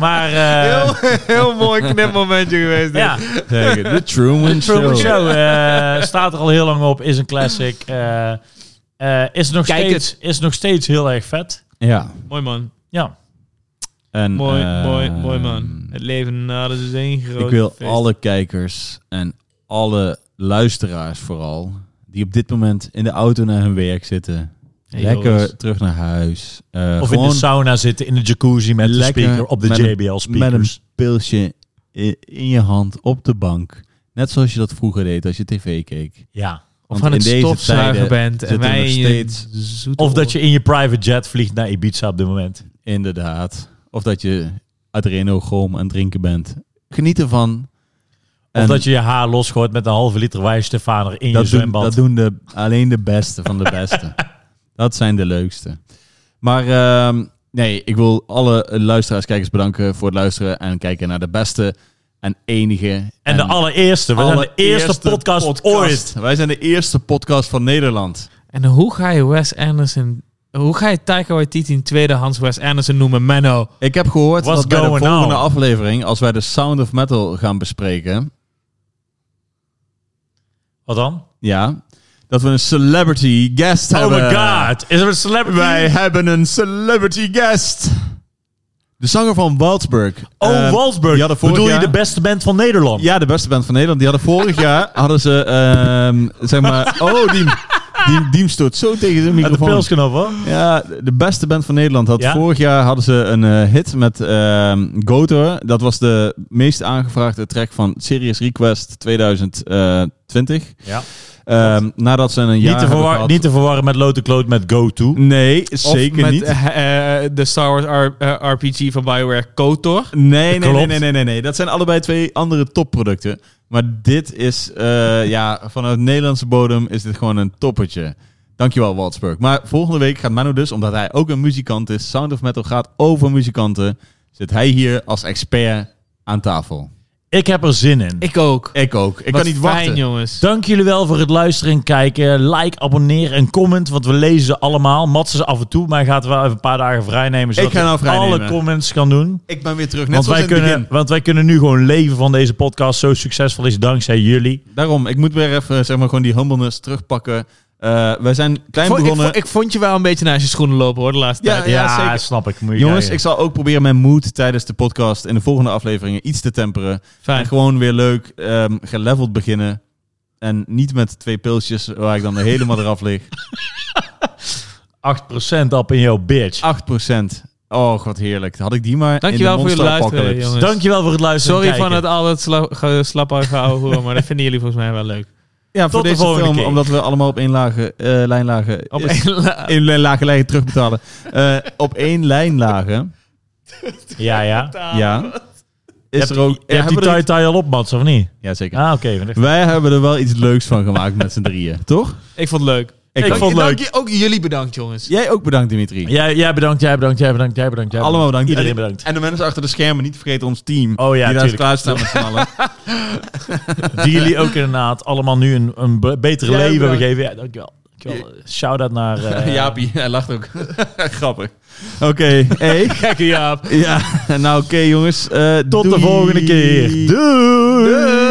Maar eh, Heel, heel mooi knipmomentje geweest. dit. ja, Zeker. De Truman, Truman Show. Show eh, staat er al heel lang op, is een classic. eh, eh, is, nog Kijk steeds, is nog steeds heel erg vet. Ja. Mooi man. Ja, En, Mooi, eh, mooi, mooi man. Het leven na de zin groot Ik wil feest. alle kijkers en alle luisteraars vooral, die op dit moment in de auto naar hun werk zitten, Hey, lekker Joris. terug naar huis. Eh, of in gewoon de sauna zitten, in de jacuzzi met de lekker speaker op de met een- JBL met een speakers. pilsje i- in je hand op de bank. Net zoals je dat vroeger deed als je tv keek. Ja. Of Want aan in het deze stofzuigen tijden bent en zitten wij nog in je steeds- zoete Of dat oren. je in je private jet vliegt naar Ibiza op dit moment. Inderdaad. Of dat je adrenochroom aan het drinken bent. Geniet ervan. Of En dat je je haar losgooit met een halve liter wijnstefaner in je dat doen, zwembad. dat doen de, alleen de beste van de beste. dat zijn de leukste. Maar ehm, nee, ik wil alle luisteraars, kijkers bedanken voor het luisteren en kijken naar de beste en enige. en de allereerste. We zijn de eerste, allereerste podcast, ooit. Wij zijn de eerste podcast van Nederland. En hoe ga je Wes Anderson... Hoe ga je Taika Waititi in tweedehands Wes Anderson noemen? Menno. Ik heb gehoord What's dat bij de going volgende on? aflevering, als wij de Sound of Metal gaan bespreken, Wat dan? ja, dat we een celebrity guest Oh hebben. my god. Is er een celebrity? Wij hebben een celebrity guest. De zanger van Waldsburg. oh, Eh, Wolfsburg. die hadden vorig Bedoel jaar- je de beste band van Nederland? Ja, de beste band van Nederland. Die hadden vorig jaar, hadden ze, ehm, zeg maar... Oh, Diem, Diem, Diem stoot zo tegen zijn Uit de microfoon. pilsknop, hoor. Ja, de beste band van Nederland had Ja? vorig jaar hadden ze een eh, hit met ehm Gotor. Dat was de meest aangevraagde track van Serious Request 2020. Ja. Ehm, nadat ze een jaar Niet, te hebben verwar- gehad- niet te verwarren met Lote Kloot met Go To. Nee, Of zeker met, niet. eh, eh, de Star Wars R- eh, RPG van Bioware KOTOR. Nee, nee, nee, Klopt. nee, nee, nee, nee. Dat zijn allebei twee andere topproducten. Maar dit is, eh, ja, vanuit Nederlandse bodem is dit gewoon een toppertje. Dankjewel, Waldsburg. Maar volgende week gaat Manu dus, omdat hij ook een muzikant is, Sound of Metal gaat over muzikanten, zit hij hier als expert aan tafel. Ik heb er zin in. Ik ook. Ik ook. Ik Wat kan niet fijn, wachten. jongens. Dank jullie wel voor het luisteren en kijken. Like, abonneer en comment, want we lezen ze allemaal. Matsen ze af en toe, maar hij gaat wel even een paar dagen vrijnemen. Zodat ga nou vrijnemen. alle comments kan doen. Ik ben weer terug, net Want zoals wij, in het kunnen, begin. want wij kunnen nu gewoon leven van deze podcast. Zo succesvol is dankzij jullie. Daarom, ik moet weer even, zeg maar, gewoon die humbleness terugpakken. Eh, wij zijn klein Vo- ik, begonnen. vo- ik vond je wel een beetje naast je schoenen lopen hoor, de laatste Ja, tijd. Ja, zeker. snap ik. Moet je Jongens, kijken. ik zal ook proberen mijn mood tijdens de podcast in de volgende afleveringen iets te temperen. En Fijn. gewoon weer leuk ehm, geleveld beginnen. En niet met twee pilsjes waar ik dan helemaal eraf lig. 8% up in jouw bitch. 8%. Oh, wat heerlijk. Had ik die maar Dankjewel in voor de jullie luisteren, monsterapocalypse. jongens. Dankjewel voor het luisteren Sorry en kijken. van het al dat sla- ge- slappige ouwe hoer, maar dat vinden jullie volgens mij wel leuk. Ja, voor Tot de deze volgende film, keer. omdat we allemaal op één lage, eh, lijn lagen... Op eh, een la- in één lage lijn terugbetalen. Eh, op één lijn lagen, Ja, ja. ja... Je Is hebt er ook... die- je hebt die hebben we er iets- tie-tie al op, Mats, of niet? Ja, zeker. Ah, oké. maar dat- Wij hebben er wel iets leuks van gemaakt met z'n drieën, toch? Ik vond het leuk. Ik ook. vond het leuk. Dank je- ook jullie bedankt, jongens. Jij ook bedankt, Dimitri. Jij, jij bedankt, jij bedankt, jij bedankt, jij bedankt. jij Allemaal bedankt. Iedereen En- bedankt. En de mensen achter de schermen, niet vergeten ons team. Oh ja, die daar tuurlijk. klaarstaan met z'n allen. Die jullie ook inderdaad allemaal nu een, een be- betere Jij leven hebben bedankt. gegeven. Ja, dankjewel. dankjewel. Shout-out naar... eh, Jaapie, hij lacht ook. Grappig. Oké, hey. Gekke Jaap. Ja, nou oké jongens. eh, Tot de doei. volgende keer. Doei.